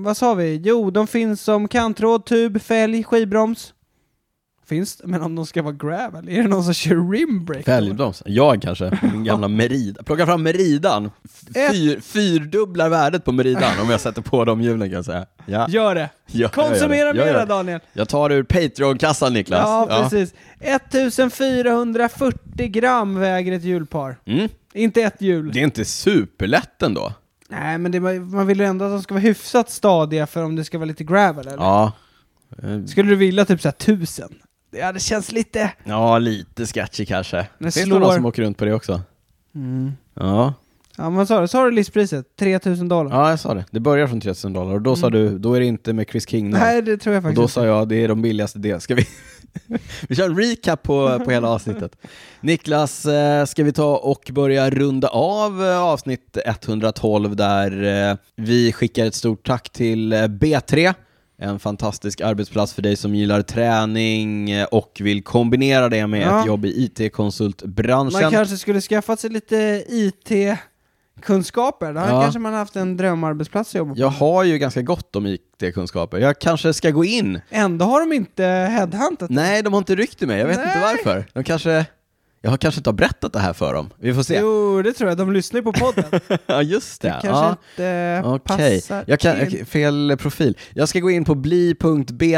Speaker 2: Eh, vad sa vi? Jo, de finns som kantråd, tub, fälg, skivbroms. Finns Men om de ska vara gravel, är det någon som kör rimbrake? då?
Speaker 1: Fälgbroms. Jag kanske, min gamla Merida. Plocka fram Meridan.
Speaker 2: Ett.
Speaker 1: Fyr, fyrdubblar värdet på Meridan om jag sätter på de hjulen kan jag säga. Ja.
Speaker 2: Gör det!
Speaker 1: Ja, jag gör
Speaker 2: Konsumera
Speaker 1: det. Jag gör
Speaker 2: mera
Speaker 1: det.
Speaker 2: Daniel!
Speaker 1: Jag tar det ur Patreon-kassan Niklas.
Speaker 2: Ja, precis. 1440 gram väger ett hjulpar.
Speaker 1: Mm.
Speaker 2: Inte ett hjul.
Speaker 1: Det är inte superlätt ändå.
Speaker 2: Nej, men det, man vill ju ändå att de ska vara hyfsat stadiga för om det ska vara lite gravel, eller?
Speaker 1: Ja. Eh,
Speaker 2: Skulle du vilja typ såhär 1000? Ja, det känns lite...
Speaker 1: Ja, lite sketchy kanske.
Speaker 2: Men
Speaker 1: Finns det någon
Speaker 2: slår-
Speaker 1: som åker runt på det också? Ja.
Speaker 2: Ja, men vad sa du? Sa du listpriset? 3000 dollar?
Speaker 1: Ja, jag sa det. Det börjar från 3000 dollar och då sa du, då är det inte med Chris King.
Speaker 2: Mm. Nej, det tror jag
Speaker 1: och
Speaker 2: faktiskt
Speaker 1: då sa jag, det är de billigaste del. Ska vi... vi kör en recap på, på hela avsnittet. Niklas, eh, ska vi ta och börja runda av eh, avsnitt 112 där eh, vi skickar ett stort tack till eh, B3. En fantastisk arbetsplats för dig som gillar träning eh, och vill kombinera det med
Speaker 2: Ja.
Speaker 1: ett jobb i
Speaker 2: Man
Speaker 1: IT-konsultbranschen.
Speaker 2: kanske skulle skaffat sig lite IT-kunskaper. Då
Speaker 1: Ja.
Speaker 2: kanske man haft en drömarbetsplats att jobba på.
Speaker 1: Jag har ju ganska gott om IT-kunskaper. Jag kanske ska gå in
Speaker 2: Ändå har de inte headhuntat.
Speaker 1: Nej, de har inte ryckt i mig. Jag vet
Speaker 2: Nej.
Speaker 1: inte varför. De kanske... Jag har kanske inte har berättat det här för dem. Vi får se.
Speaker 2: Jo, det tror jag. De lyssnar ju på podden.
Speaker 1: ja, just det.
Speaker 2: Kanske
Speaker 1: ja.
Speaker 2: inte
Speaker 1: Okej,
Speaker 2: passar
Speaker 1: jag kan,
Speaker 2: in.
Speaker 1: okej, fel profil. Jag ska gå in på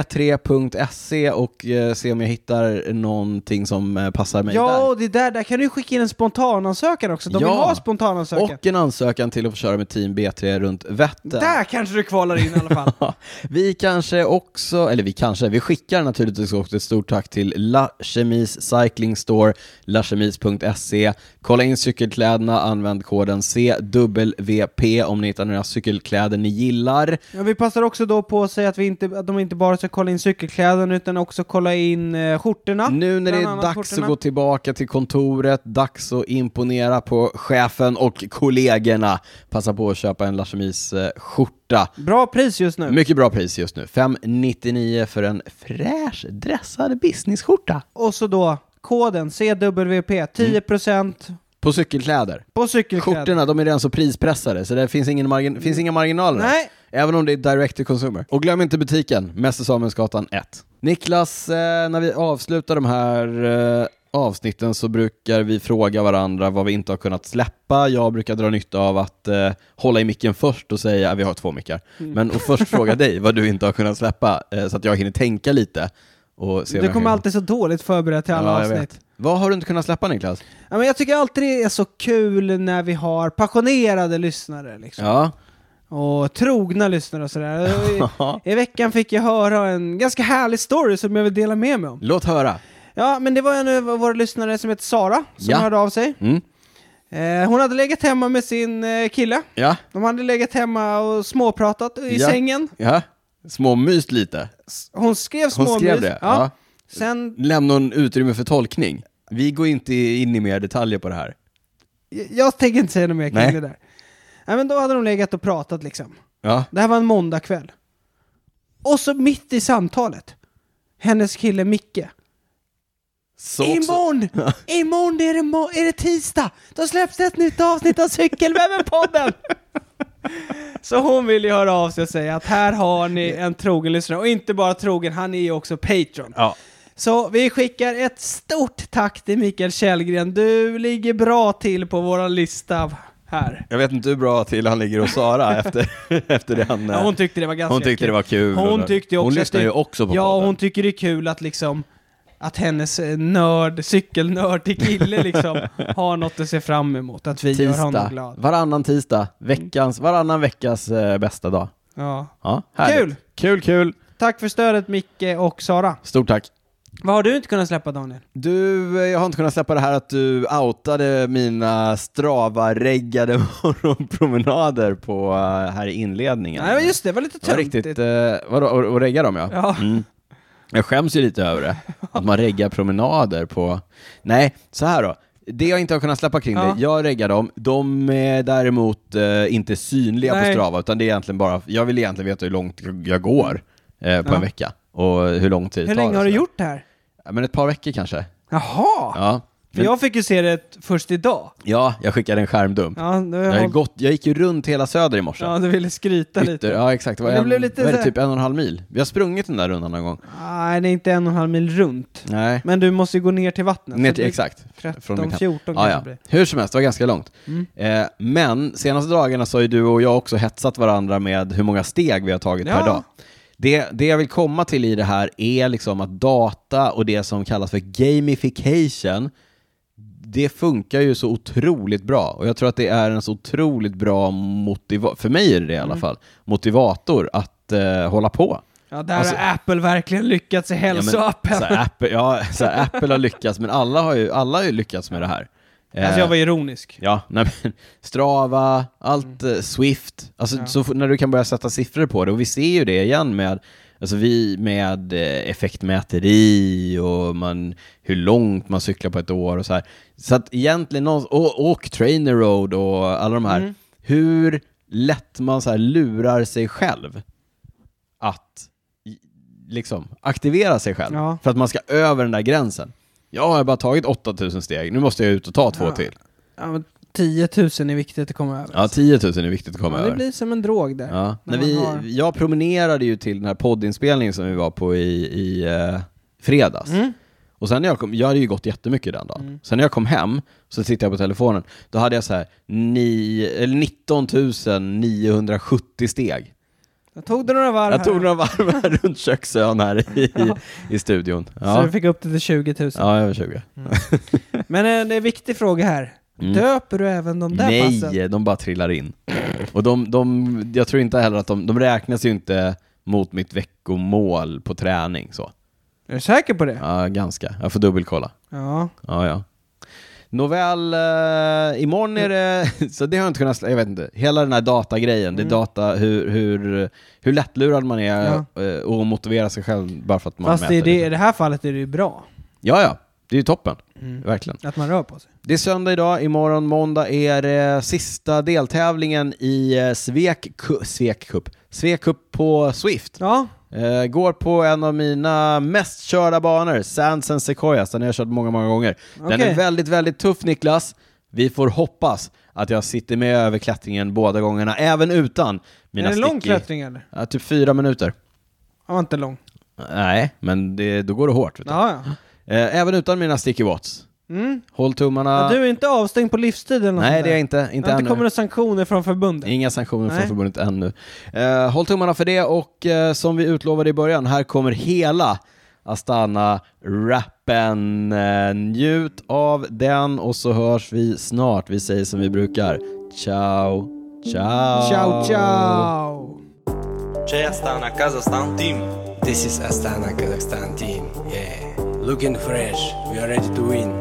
Speaker 1: bli.b3.se och eh, se om jag hittar någonting som eh, passar mig
Speaker 2: Ja,
Speaker 1: där.
Speaker 2: och det där, där kan du ju skicka in en spontanansökan också. De vill
Speaker 1: Ja.
Speaker 2: ha spontanansökan.
Speaker 1: Och en ansökan till att få köra med Team B3 runt Vättern.
Speaker 2: Där kanske du kvalar in i alla fall.
Speaker 1: Ja, vi kanske också, eller vi kanske, vi skickar naturligtvis också ett stort tack till La Chemise Cycling Store, lachemise.se. Kolla in cykelkläderna, använd koden CWP om ni hittar några cykelkläder ni gillar.
Speaker 2: Ja, vi passar också då på att säga att, vi inte, att de inte bara ska kolla in cykelkläderna utan också kolla in eh, skjortorna.
Speaker 1: Nu när det
Speaker 2: Bland
Speaker 1: är
Speaker 2: annat
Speaker 1: dags
Speaker 2: skjortorna.
Speaker 1: att gå tillbaka till kontoret, dags att imponera på chefen och kollegorna, passa på att köpa en La Chemise eh, skjorta.
Speaker 2: Bra pris just nu.
Speaker 1: Mycket bra pris just nu, 599 för en fräsch dressad businessskjorta.
Speaker 2: Och så då koden CWP, 10%
Speaker 1: På cykelkläder.
Speaker 2: på cykelkläder.
Speaker 1: Skjortorna, de är redan så prispressade, så det finns, ingen margin- finns inga marginaler.
Speaker 2: Mm. Nej.
Speaker 1: Även om det är direct to consumer. Och glöm inte butiken, Mäster Samuelsgatan 1. Niklas, eh, när vi avslutar de här eh, avsnitten så brukar vi fråga varandra vad vi inte har kunnat släppa. Jag brukar dra nytta av att eh, hålla i micken först och säga, "Ja, vi har två mickar,
Speaker 2: Mm.
Speaker 1: men och först fråga dig vad du inte har kunnat släppa eh, så att jag hinner tänka lite. Och se om jag
Speaker 2: Du
Speaker 1: kan-
Speaker 2: kommer alltid så dåligt förberedd till alla
Speaker 1: Ja, jag vet.
Speaker 2: avsnitt.
Speaker 1: Vad har du inte kunnat släppa Niklas?
Speaker 2: Ja, men jag tycker alltid det är så kul när vi har passionerade lyssnare liksom.
Speaker 1: Ja.
Speaker 2: och trogna lyssnare och sådär. I, I veckan fick jag höra en ganska härlig story som jag vill dela med mig om.
Speaker 1: Låt höra.
Speaker 2: Ja, men det var en av våra lyssnare som heter Sara som
Speaker 1: Ja.
Speaker 2: hörde av sig.
Speaker 1: Mm.
Speaker 2: Eh, hon hade legat hemma med sin eh, kille.
Speaker 1: Ja.
Speaker 2: De hade legat hemma och småpratat i
Speaker 1: Ja.
Speaker 2: sängen.
Speaker 1: Ja. Småmyst lite.
Speaker 2: S- Hon skrev
Speaker 1: Hon
Speaker 2: småmys.
Speaker 1: skrev det? Ja.
Speaker 2: Sen,
Speaker 1: Lämna en utrymme för tolkning. Vi går inte in i mer detaljer på det här.
Speaker 2: jag, jag tänker inte säga något mer kring
Speaker 1: Nej.
Speaker 2: det där. Nej, men då hade de legat och pratat liksom.
Speaker 1: Ja.
Speaker 2: Det här var en måndagkväll. Och så mitt i samtalet, hennes kille Micke.
Speaker 1: Så
Speaker 2: Imorgon! Imorgon är det, mo- är det tisdag! Då släpps det ett nytt avsnitt av Cykelwebben-podden! Så hon vill ju höra av sig och säga att här har ni en trogen lyssnare. Och inte bara trogen, han är ju också Patreon.
Speaker 1: Ja.
Speaker 2: Så vi skickar ett stort tack till Mikael Källgren. Du ligger bra till på vår lista här.
Speaker 1: Jag vet inte hur bra till han ligger hos Sara efter, efter det han...
Speaker 2: Ja, hon tyckte det var ganska
Speaker 1: Hon tyckte det var kul.
Speaker 2: Hon tyckte också
Speaker 1: Hon
Speaker 2: att
Speaker 1: lyssnar
Speaker 2: det-
Speaker 1: ju också på
Speaker 2: Ja,
Speaker 1: podden.
Speaker 2: hon tycker det är kul att liksom att hennes eh, nörd, cykelnörd till kille liksom har något att se fram emot. Att vi gör honom
Speaker 1: Tisdag.
Speaker 2: glad. Mm.
Speaker 1: Varannan tisdag. Veckans, varannan veckas eh, bästa dag.
Speaker 2: Ja.
Speaker 1: Ja, härligt.
Speaker 2: Kul!
Speaker 1: Kul, kul.
Speaker 2: Tack för stödet Micke och Sara.
Speaker 1: Stort tack.
Speaker 2: Vad har du inte kunnat släppa Daniel?
Speaker 1: Du, eh, jag har inte kunnat släppa det här att du outade mina strava-reggade morgonpromenader på, eh, här i inledningen.
Speaker 2: Nej, men just det, det var lite
Speaker 1: Det var
Speaker 2: töntigt.
Speaker 1: riktigt, eh, vadå, och, och regga dem ja?
Speaker 2: Ja.
Speaker 1: Mm. Jag skäms ju lite över det, att man reggar promenader på... Nej, så här då. Det jag inte har kunnat släppa kring
Speaker 2: Ja.
Speaker 1: det, jag reggar dem, de är däremot eh, inte synliga
Speaker 2: Nej.
Speaker 1: på Strava, utan det är egentligen bara, jag vill egentligen veta hur långt jag går eh, på
Speaker 2: Ja.
Speaker 1: en vecka och hur lång tid
Speaker 2: Hur
Speaker 1: det tar
Speaker 2: länge
Speaker 1: och
Speaker 2: har du
Speaker 1: sådär.
Speaker 2: gjort det här?
Speaker 1: Ja, Men ett par veckor kanske.
Speaker 2: Jaha!
Speaker 1: Ja.
Speaker 2: För jag fick ju se det först idag.
Speaker 1: Ja, jag skickade en skärmdump.
Speaker 2: Ja, nu har
Speaker 1: Jag,
Speaker 2: jag
Speaker 1: har
Speaker 2: hållit-
Speaker 1: gått, jag gick ju runt hela söder i morse.
Speaker 2: ja du ville skryta
Speaker 1: Ytter,
Speaker 2: lite.
Speaker 1: ja exakt, det var,
Speaker 2: Men det
Speaker 1: en,
Speaker 2: blev lite
Speaker 1: vad är
Speaker 2: så
Speaker 1: det,
Speaker 2: här-
Speaker 1: typ en och en halv mil. Vi har sprungit den där rundan någon gång.
Speaker 2: Nej, det är inte en och en halv mil runt.
Speaker 1: Nej.
Speaker 2: Men du måste ju gå ner till vattnet.
Speaker 1: Ner
Speaker 2: så
Speaker 1: till,
Speaker 2: det-
Speaker 1: exakt.
Speaker 2: 13,
Speaker 1: mitt hem.
Speaker 2: 14
Speaker 1: ja,
Speaker 2: kanske
Speaker 1: ja.
Speaker 2: blir. Mm.
Speaker 1: Hur som helst, det var ganska långt. Eh, men senaste dagarna så har ju du och jag också hetsat varandra med hur många steg vi har tagit
Speaker 2: Ja.
Speaker 1: per dag. Det, det jag vill komma till i det här är liksom att data och det som kallas för gamification, det funkar ju så otroligt bra. Och jag tror att det är en så otroligt bra motivator, för mig är det det i
Speaker 2: Mm.
Speaker 1: alla fall, motivator att eh, hålla på.
Speaker 2: Ja, där
Speaker 1: Alltså-
Speaker 2: har Apple verkligen lyckats i
Speaker 1: Ja, men,
Speaker 2: hälsoappen.
Speaker 1: Så här, Apple, ja, så här, Apple har lyckats, men alla har ju, alla har ju lyckats med det här. Eh,
Speaker 2: alltså jag var ironisk.
Speaker 1: Ja, nej, men, Strava, allt eh, Swift, alltså
Speaker 2: Mm. Ja.
Speaker 1: så f- när du kan börja sätta siffror på det och vi ser ju det igen med Alltså vi med eh, effektmäteri och man, hur långt man cyklar på ett år och så här. Så att egentligen, någon, och, och Trainer Road och alla de här,
Speaker 2: Mm.
Speaker 1: hur lätt man så här lurar sig själv att i- liksom aktivera sig själv
Speaker 2: Ja.
Speaker 1: för att man ska över den där gränsen. Ja, jag har bara tagit 8000 steg, nu måste jag ut och ta två
Speaker 2: Ja.
Speaker 1: till.
Speaker 2: Ja, men 10 000 är viktigt att komma över.
Speaker 1: Ja, 10 000 är viktigt att komma
Speaker 2: Ja, det
Speaker 1: över.
Speaker 2: blir som en drog där.
Speaker 1: Ja.
Speaker 2: När
Speaker 1: När
Speaker 2: man
Speaker 1: vi,
Speaker 2: har-
Speaker 1: Jag
Speaker 2: Mm.
Speaker 1: promenerade ju till den här poddinspelningen som vi var på i, i eh, fredags. Och sen när jag kom, jag hade ju gått jättemycket den dagen. Sen när jag kom hem så tittade jag på telefonen, då hade jag så här ni, eller 19 970 steg.
Speaker 2: Jag tog du några varv
Speaker 1: Jag tog
Speaker 2: här,
Speaker 1: några varv här runt köksön här i, i studion.
Speaker 2: så
Speaker 1: Ja.
Speaker 2: du fick upp det till 20 000.
Speaker 1: ja, jag var 20.
Speaker 2: Men eh, det är en viktig fråga här.
Speaker 1: Mm.
Speaker 2: Döper du även de där
Speaker 1: Nej,
Speaker 2: passen?
Speaker 1: de bara trillar in. Och de, de, jag tror inte heller att de, de räknas ju inte mot mitt veckomål på träning så.
Speaker 2: Är du säker på det? Ja.
Speaker 1: Ja, ganska. Jag får dubbelkolla. Ja, ja. Nåväl, eh, imorgon är det... Så det har jag inte kunnat... slä- Jag vet inte. Hela den här datagrejen,
Speaker 2: Mm.
Speaker 1: det är data, hur, hur, hur lättlurad man är eh, och motiverar sig själv bara för att man
Speaker 2: Fast
Speaker 1: mäter.
Speaker 2: i
Speaker 1: liksom.
Speaker 2: det, i det här fallet är det ju bra
Speaker 1: Ja, ja. Det är ju toppen.
Speaker 2: Mm.
Speaker 1: Verkligen.
Speaker 2: att man rör på sig.
Speaker 1: Det är söndag idag, imorgon måndag är det sista deltävlingen i eh, Svek Cu- Svek Cup. Svek Cup på Swift.
Speaker 2: Ja,
Speaker 1: Eh, går på en av mina mest körda banor, Sands and Sequoias. Den har jag kört många, många gånger. Den
Speaker 2: Okej.
Speaker 1: är väldigt, väldigt tuff Niklas. Vi får hoppas att jag sitter med över klättringen båda gångerna, även utan mina
Speaker 2: är det lång
Speaker 1: sticky-
Speaker 2: klättring eller?
Speaker 1: Ja, typ fyra minuter.
Speaker 2: Ja, inte lång.
Speaker 1: Nej, men det, då går det hårt. Vet du.
Speaker 2: Ja, ja.
Speaker 1: Eh, även utan mina sticky watts.
Speaker 2: Mm.
Speaker 1: Håll tummarna.
Speaker 2: Ja, du är inte avstängd på livstid eller något
Speaker 1: Nej,
Speaker 2: sånt
Speaker 1: det
Speaker 2: där.
Speaker 1: är jag inte. Inte
Speaker 2: Det har
Speaker 1: ännu.
Speaker 2: inte kommer några sanktioner från förbundet.
Speaker 1: Inga sanktioner
Speaker 2: Nej.
Speaker 1: från förbundet ännu. Eh, håll tummarna för det och eh, som vi utlovade i början, här kommer hela Astana-rappen. Eh, njut av den och så hörs vi snart. Vi säger som vi brukar. Ciao, ciao.
Speaker 2: Ciao, ciao!
Speaker 3: Че Астана, Казахстан, Тим?
Speaker 4: This is Astana Kazakhstan team. Yeah. Looking fresh. We are ready to win.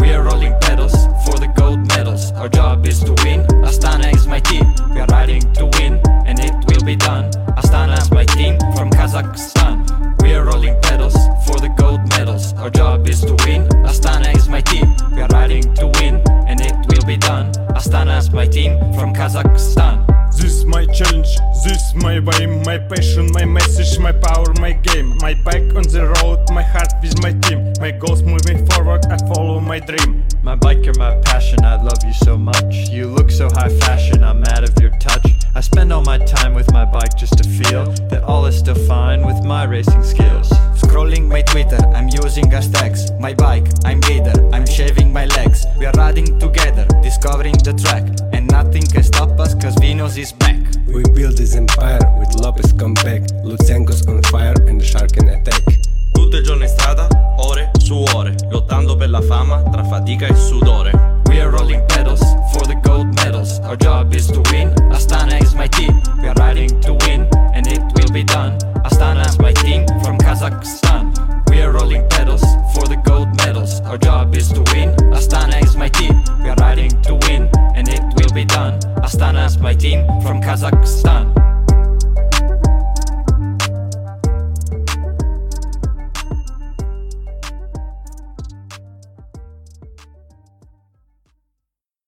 Speaker 3: We are rolling pedals for the gold medals. Our job is to win. Astana is my team. We are riding to win, and it will be done. Astana is my team from Kazakhstan. We are rolling pedals for the gold medals. Our job is to win. Astana is my team. We are riding to win, and it will be done. Astana is my team from Kazakhstan.
Speaker 5: This my challenge, this my way, my passion, my message, my power, my game. My back on the road, my heart with my team. My goals moving forward, I follow my dream.
Speaker 6: My bike, you're my passion, I love you so much. You look so high fashion, I'm out of your touch. I spend all my time with my bike just to feel that all is still fine with my racing skills.
Speaker 3: Scrolling my Twitter, I'm using hashtags. My bike, I'm leader, I'm shaving my legs. We are riding together, discovering the track. And nothing can stop us, cause Venus is back.
Speaker 4: We build this empire with Lopez comeback, Lutsenko's on fire and Sharkin attack.
Speaker 7: Tutto il giorno in strada, ore su ore, lottando per la fama tra fatica e sudore.
Speaker 3: We are rolling pedals for the gold medals. Our job is to win. Astana is my team. We are riding to win, and it will be done. Astana is my team from Kazakhstan. We are rolling pedals for the gold medals. Our job is to win. Astana is my team. We are riding to win, and it will be done. Astana is my team from Kazakhstan.